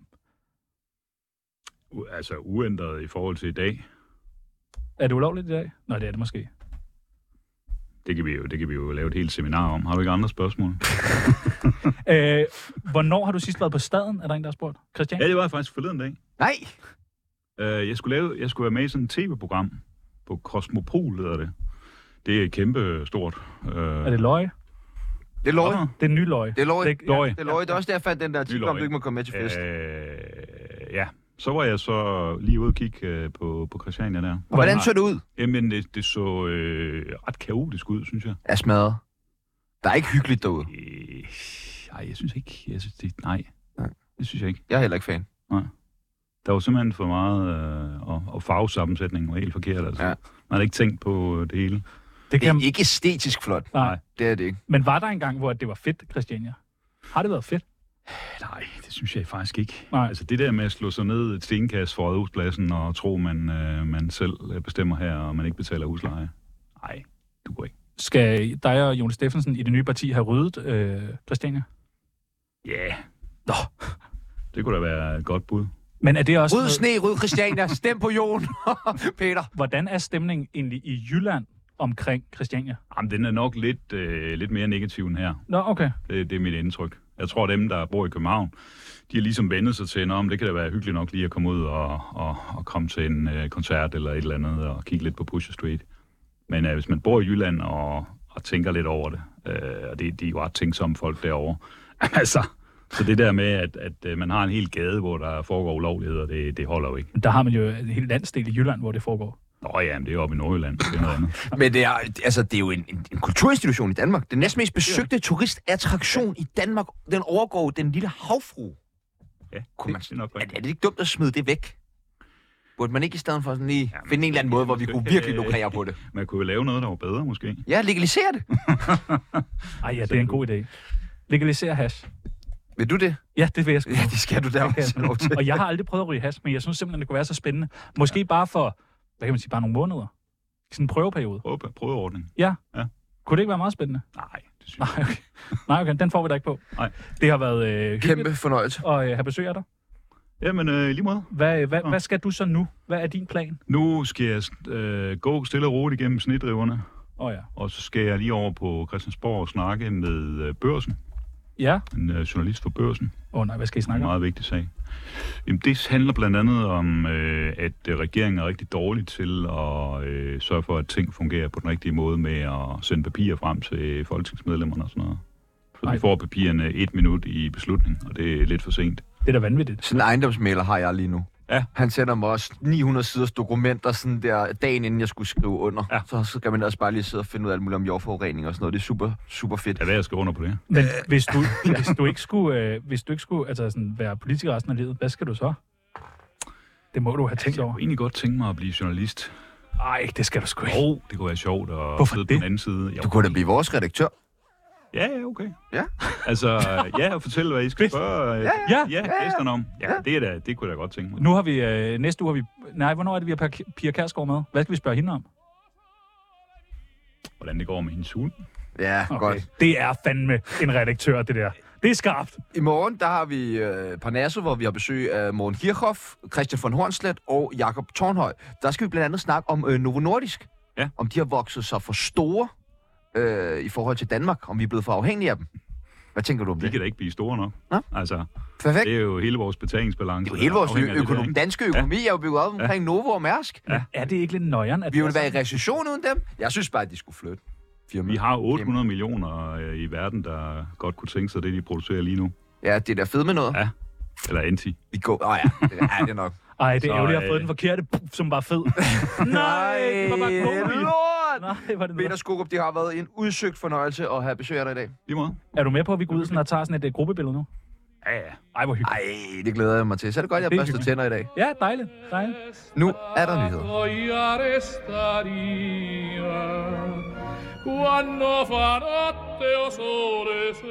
Speaker 2: U- altså, uændret i forhold til i dag.
Speaker 3: Er det ulovligt i dag? Nej, det er det måske.
Speaker 2: Det kan, vi jo, det kan vi jo lave et helt seminar om. Har du ikke andre spørgsmål?
Speaker 3: Øh, hvornår har du sidst været på staden, er der en, der har spurgt? Christian?
Speaker 1: Øh.
Speaker 2: Ja, det var jeg faktisk forleden dag.
Speaker 1: Nej!
Speaker 2: Øh, jeg, skulle lave, jeg skulle være med i sådan et tv-program på Cosmopol, hedder det. Det er kæmpe stort. Øh,
Speaker 3: Er det løje?
Speaker 1: Det er løgn.
Speaker 3: Det er en ny løje.
Speaker 1: Det er løgn.
Speaker 3: Det er løje.
Speaker 1: Det er løgn. Det er også der, jeg fandt den der artikel om,
Speaker 2: løgn.
Speaker 1: du ikke må komme med til fest.
Speaker 2: Øh, ja, så var jeg så lige ude og kigge øh, på, på Christiania der.
Speaker 1: Og Hvordan så det ud?
Speaker 2: Jamen, det, det så øh, ret kaotisk ud, synes jeg.
Speaker 1: Er smadret. Der er ikke hyggeligt derude.
Speaker 2: Øh, ej, jeg synes ikke. Jeg synes, det, nej,
Speaker 1: Nej.
Speaker 2: det synes jeg ikke.
Speaker 1: Jeg er heller ikke fan.
Speaker 2: Der var simpelthen for meget, øh, og, og farvesammensætningen var helt forkert. Altså.
Speaker 1: Ja.
Speaker 2: Ja. Man havde ikke tænkt på øh, det hele.
Speaker 3: Det
Speaker 1: Det
Speaker 3: kan,
Speaker 1: er ikke æstetisk flot.
Speaker 3: nej.
Speaker 1: Det er det ikke.
Speaker 3: Men var der engang, hvor det var fedt, Christiania? Har det været fedt?
Speaker 2: Nej, det synes jeg faktisk ikke.
Speaker 3: Nej.
Speaker 2: Altså det der med at slå sig ned i et stenkast for rådhuspladsen og tro, man, øh, man selv øh, bestemmer her, og man ikke betaler husleje. Nej, du går ikke.
Speaker 3: Skal dig og Jonas Steffensen i det nye parti have ryddet øh, Christiania?
Speaker 2: Ja. Yeah. Nå. (laughs) Det kunne da være et godt bud.
Speaker 3: Men er det også
Speaker 1: Rød
Speaker 3: noget,
Speaker 1: sne, rød Christiania, stem på Jon. (laughs) Peter.
Speaker 3: hvordan er stemningen egentlig i Jylland omkring Christiania?
Speaker 2: Jamen, den er nok lidt, øh, lidt mere negativ end her.
Speaker 3: Nå, okay.
Speaker 2: Det, det er mit indtryk. Jeg tror, dem, der bor i København, de har ligesom vendet sig til, om det kan da være hyggeligt nok lige at komme ud og, og, og komme til en øh, koncert eller et eller andet og kigge lidt på Pusher Street. Men øh, hvis man bor i Jylland og, og tænker lidt over det, øh, og det, de er jo ret tænksomme folk derovre, (laughs) altså, så det der med, at, at øh, man har en hel gade, hvor der foregår ulovligheder, det, det holder jo ikke.
Speaker 3: Men Der har man jo en hel landsdel i Jylland, hvor det foregår.
Speaker 2: Nå ja, men det er jo oppe i Nordjylland, det er noget andet.
Speaker 1: Men det er, altså, det er jo en, en, en kulturinstitution i Danmark. Den næstmest besøgte turistattraktion i Danmark, den overgår jo den lille havfru.
Speaker 2: Ja,
Speaker 1: (laughs) Kunne man,
Speaker 2: det er nok
Speaker 1: er,
Speaker 2: rigtigt.
Speaker 1: er det ikke dumt at smide det væk? Burde man ikke i stedet for sådan lige
Speaker 2: Jamen,
Speaker 1: finde en eller anden måde, hvor vi kunne virkelig
Speaker 2: øh,
Speaker 1: lukrere på det?
Speaker 2: Man kunne jo lave noget, der var bedre måske.
Speaker 1: Ja, legalisere det.
Speaker 3: Ej, ja, det er en god idé. Legalisere hash.
Speaker 1: Vil du det?
Speaker 3: Ja, det vil jeg sgu.
Speaker 1: Ja, det skal du da
Speaker 3: Det kan
Speaker 1: også
Speaker 3: jeg.
Speaker 1: have lov til.
Speaker 3: Og jeg har aldrig prøvet at ryge hash, men jeg synes simpelthen, det kunne være så spændende. Måske bare for, hvad kan man sige, bare nogle måneder. Sådan en prøveperiode.
Speaker 2: Prøve, prøveordning.
Speaker 3: Kunne det ikke være meget spændende? (laughs)
Speaker 2: Nej, det synes jeg.
Speaker 3: Nej, okay. Nej, okay. Den får vi da ikke på.
Speaker 2: Nej.
Speaker 3: Det har været øh, hyggeligt
Speaker 1: Kæmpe fornøjelse.
Speaker 3: at øh, have besøg af dig.
Speaker 2: Jamen, øh, i lige måde.
Speaker 3: Hvad, øh, hvad,
Speaker 2: Nå.
Speaker 3: hvad skal du så nu? Hvad er din plan?
Speaker 2: Nu skal jeg øh, gå stille og roligt igennem snedriverne,
Speaker 3: Åh oh, ja.
Speaker 2: og så skal jeg lige over på Christiansborg og snakke med øh, Børsen,
Speaker 3: Ja?
Speaker 2: en øh, journalist for Børsen.
Speaker 3: Åh oh, nej, hvad skal I
Speaker 2: En
Speaker 3: snakke om?
Speaker 2: meget vigtig sag. Jamen, det handler blandt andet om, øh, at øh, regeringen er rigtig dårlig til at øh, sørge for, at ting fungerer på den rigtige måde med at sende papirer frem til folketingsmedlemmerne og sådan noget. Så
Speaker 3: Ej.
Speaker 2: de får papirerne et minut i beslutning, og det er lidt for sent.
Speaker 3: Det er da vanvittigt.
Speaker 1: Sådan en ejendomsmæler har jeg lige nu.
Speaker 2: Ja.
Speaker 1: Han sender mig også 900 siders dokumenter sådan der dagen inden jeg skulle skrive under.
Speaker 2: Ja.
Speaker 1: Så skal man ellers bare lige sidde og finde ud af alt muligt om jordforurening og sådan noget. Det er super, super fedt.
Speaker 2: Ja, hvad jeg skal under på det?
Speaker 3: Men hvis du, hvis du ikke skulle, øh, hvis du ikke skulle altså sådan, være politiker resten af livet, hvad skal du så? Det må du have tænkt
Speaker 2: Jeg
Speaker 3: over.
Speaker 2: kunne egentlig godt tænke mig at blive journalist.
Speaker 3: Nej, det skal du sgu ikke.
Speaker 2: Åh, oh, det kunne være sjovt at
Speaker 3: Hvorfor
Speaker 2: sidde
Speaker 3: det?
Speaker 2: på den anden side. Jeg
Speaker 1: Du kunne da blive vores redaktør.
Speaker 2: Ja, ja, okay.
Speaker 1: Ja.
Speaker 2: (laughs) Altså, ja, og fortæl, hvad I skal
Speaker 3: Fedt.
Speaker 2: spørge ja,
Speaker 3: ja.
Speaker 2: ja, ja, gæsterne om. Ja, det, er da, det kunne jeg da godt tænke mig.
Speaker 3: Nu har vi, øh, næste uge har vi, nej, hvornår er det, vi har Pa- Pia Kærsgaard med? Hvad skal vi spørge hende om?
Speaker 2: Hvordan det går med hendes hund.
Speaker 1: Ja, okay. godt.
Speaker 3: Det er fandme en redaktør, det der. Det er skarpt.
Speaker 1: I morgen, der har vi øh, Parnasso, hvor vi har besøg af Morten Kirchhoff, Christian von Hornslet og Jakob Tornhøj. Der skal vi blandt andet snakke om øh, Novo Nordisk.
Speaker 2: Ja.
Speaker 1: Om de har vokset sig for store øh, i forhold til Danmark. Om vi er blevet for afhængige af dem. Hvad tænker du om
Speaker 2: De
Speaker 1: det?
Speaker 2: kan da ikke blive store nok.
Speaker 1: Nå.
Speaker 2: Altså,
Speaker 1: Perfekt.
Speaker 2: det er jo hele vores betalingsbalance.
Speaker 1: Det er jo hele vores
Speaker 2: afhænger af
Speaker 1: ø-
Speaker 2: det der,
Speaker 1: økonomi,
Speaker 2: ikke?
Speaker 1: danske økonomi er jo bygget op omkring Novo og Mærsk.
Speaker 3: Ja. Er det ikke lidt nøjeren? At
Speaker 1: Vi ville
Speaker 3: det er
Speaker 1: være i
Speaker 3: sådan?
Speaker 1: recession uden dem. Jeg synes bare, at de skulle flytte. Firma.
Speaker 2: Vi har 800 millioner øh, i verden, der godt kunne tænke sig det, de producerer lige nu.
Speaker 1: Ja, det er da fedt med noget.
Speaker 2: Ja. Eller anti.
Speaker 1: Vi går... Åh oh, ja, det er det nok.
Speaker 3: Ej, det er
Speaker 2: Så,
Speaker 3: ærgerligt, at
Speaker 2: øh,
Speaker 3: jeg har fået den forkerte, puff, som var
Speaker 1: (laughs)
Speaker 3: fed. nej, det var bare god.
Speaker 1: lort!
Speaker 3: Nej, var
Speaker 1: Mm-hmm.
Speaker 3: det
Speaker 1: Peter
Speaker 3: noget.
Speaker 1: Skorup, det har været en udsøgt fornøjelse at have besøg af dig i dag.
Speaker 2: Lige måde.
Speaker 3: Er du med på, at vi går ud sådan og tager sådan et uh, gruppebillede nu?
Speaker 2: Ja, ja.
Speaker 3: Ej, hvor hyggeligt.
Speaker 1: Ej, det glæder jeg mig til. Så er det godt, jeg
Speaker 3: Det er
Speaker 1: børster
Speaker 3: hyggeligt.
Speaker 1: tænder i dag.
Speaker 3: Ja, dejligt. dejligt.
Speaker 1: Nu er der nyheder.
Speaker 9: Voglio restaria quando fa notte o sole se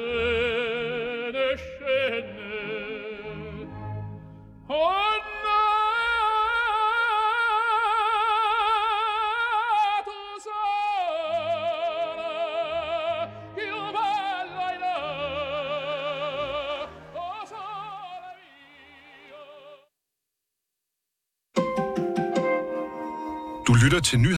Speaker 9: ne scende. Oh, nato sola, più bella in là, oh, sole mio.
Speaker 7: Du lytter til nyheder.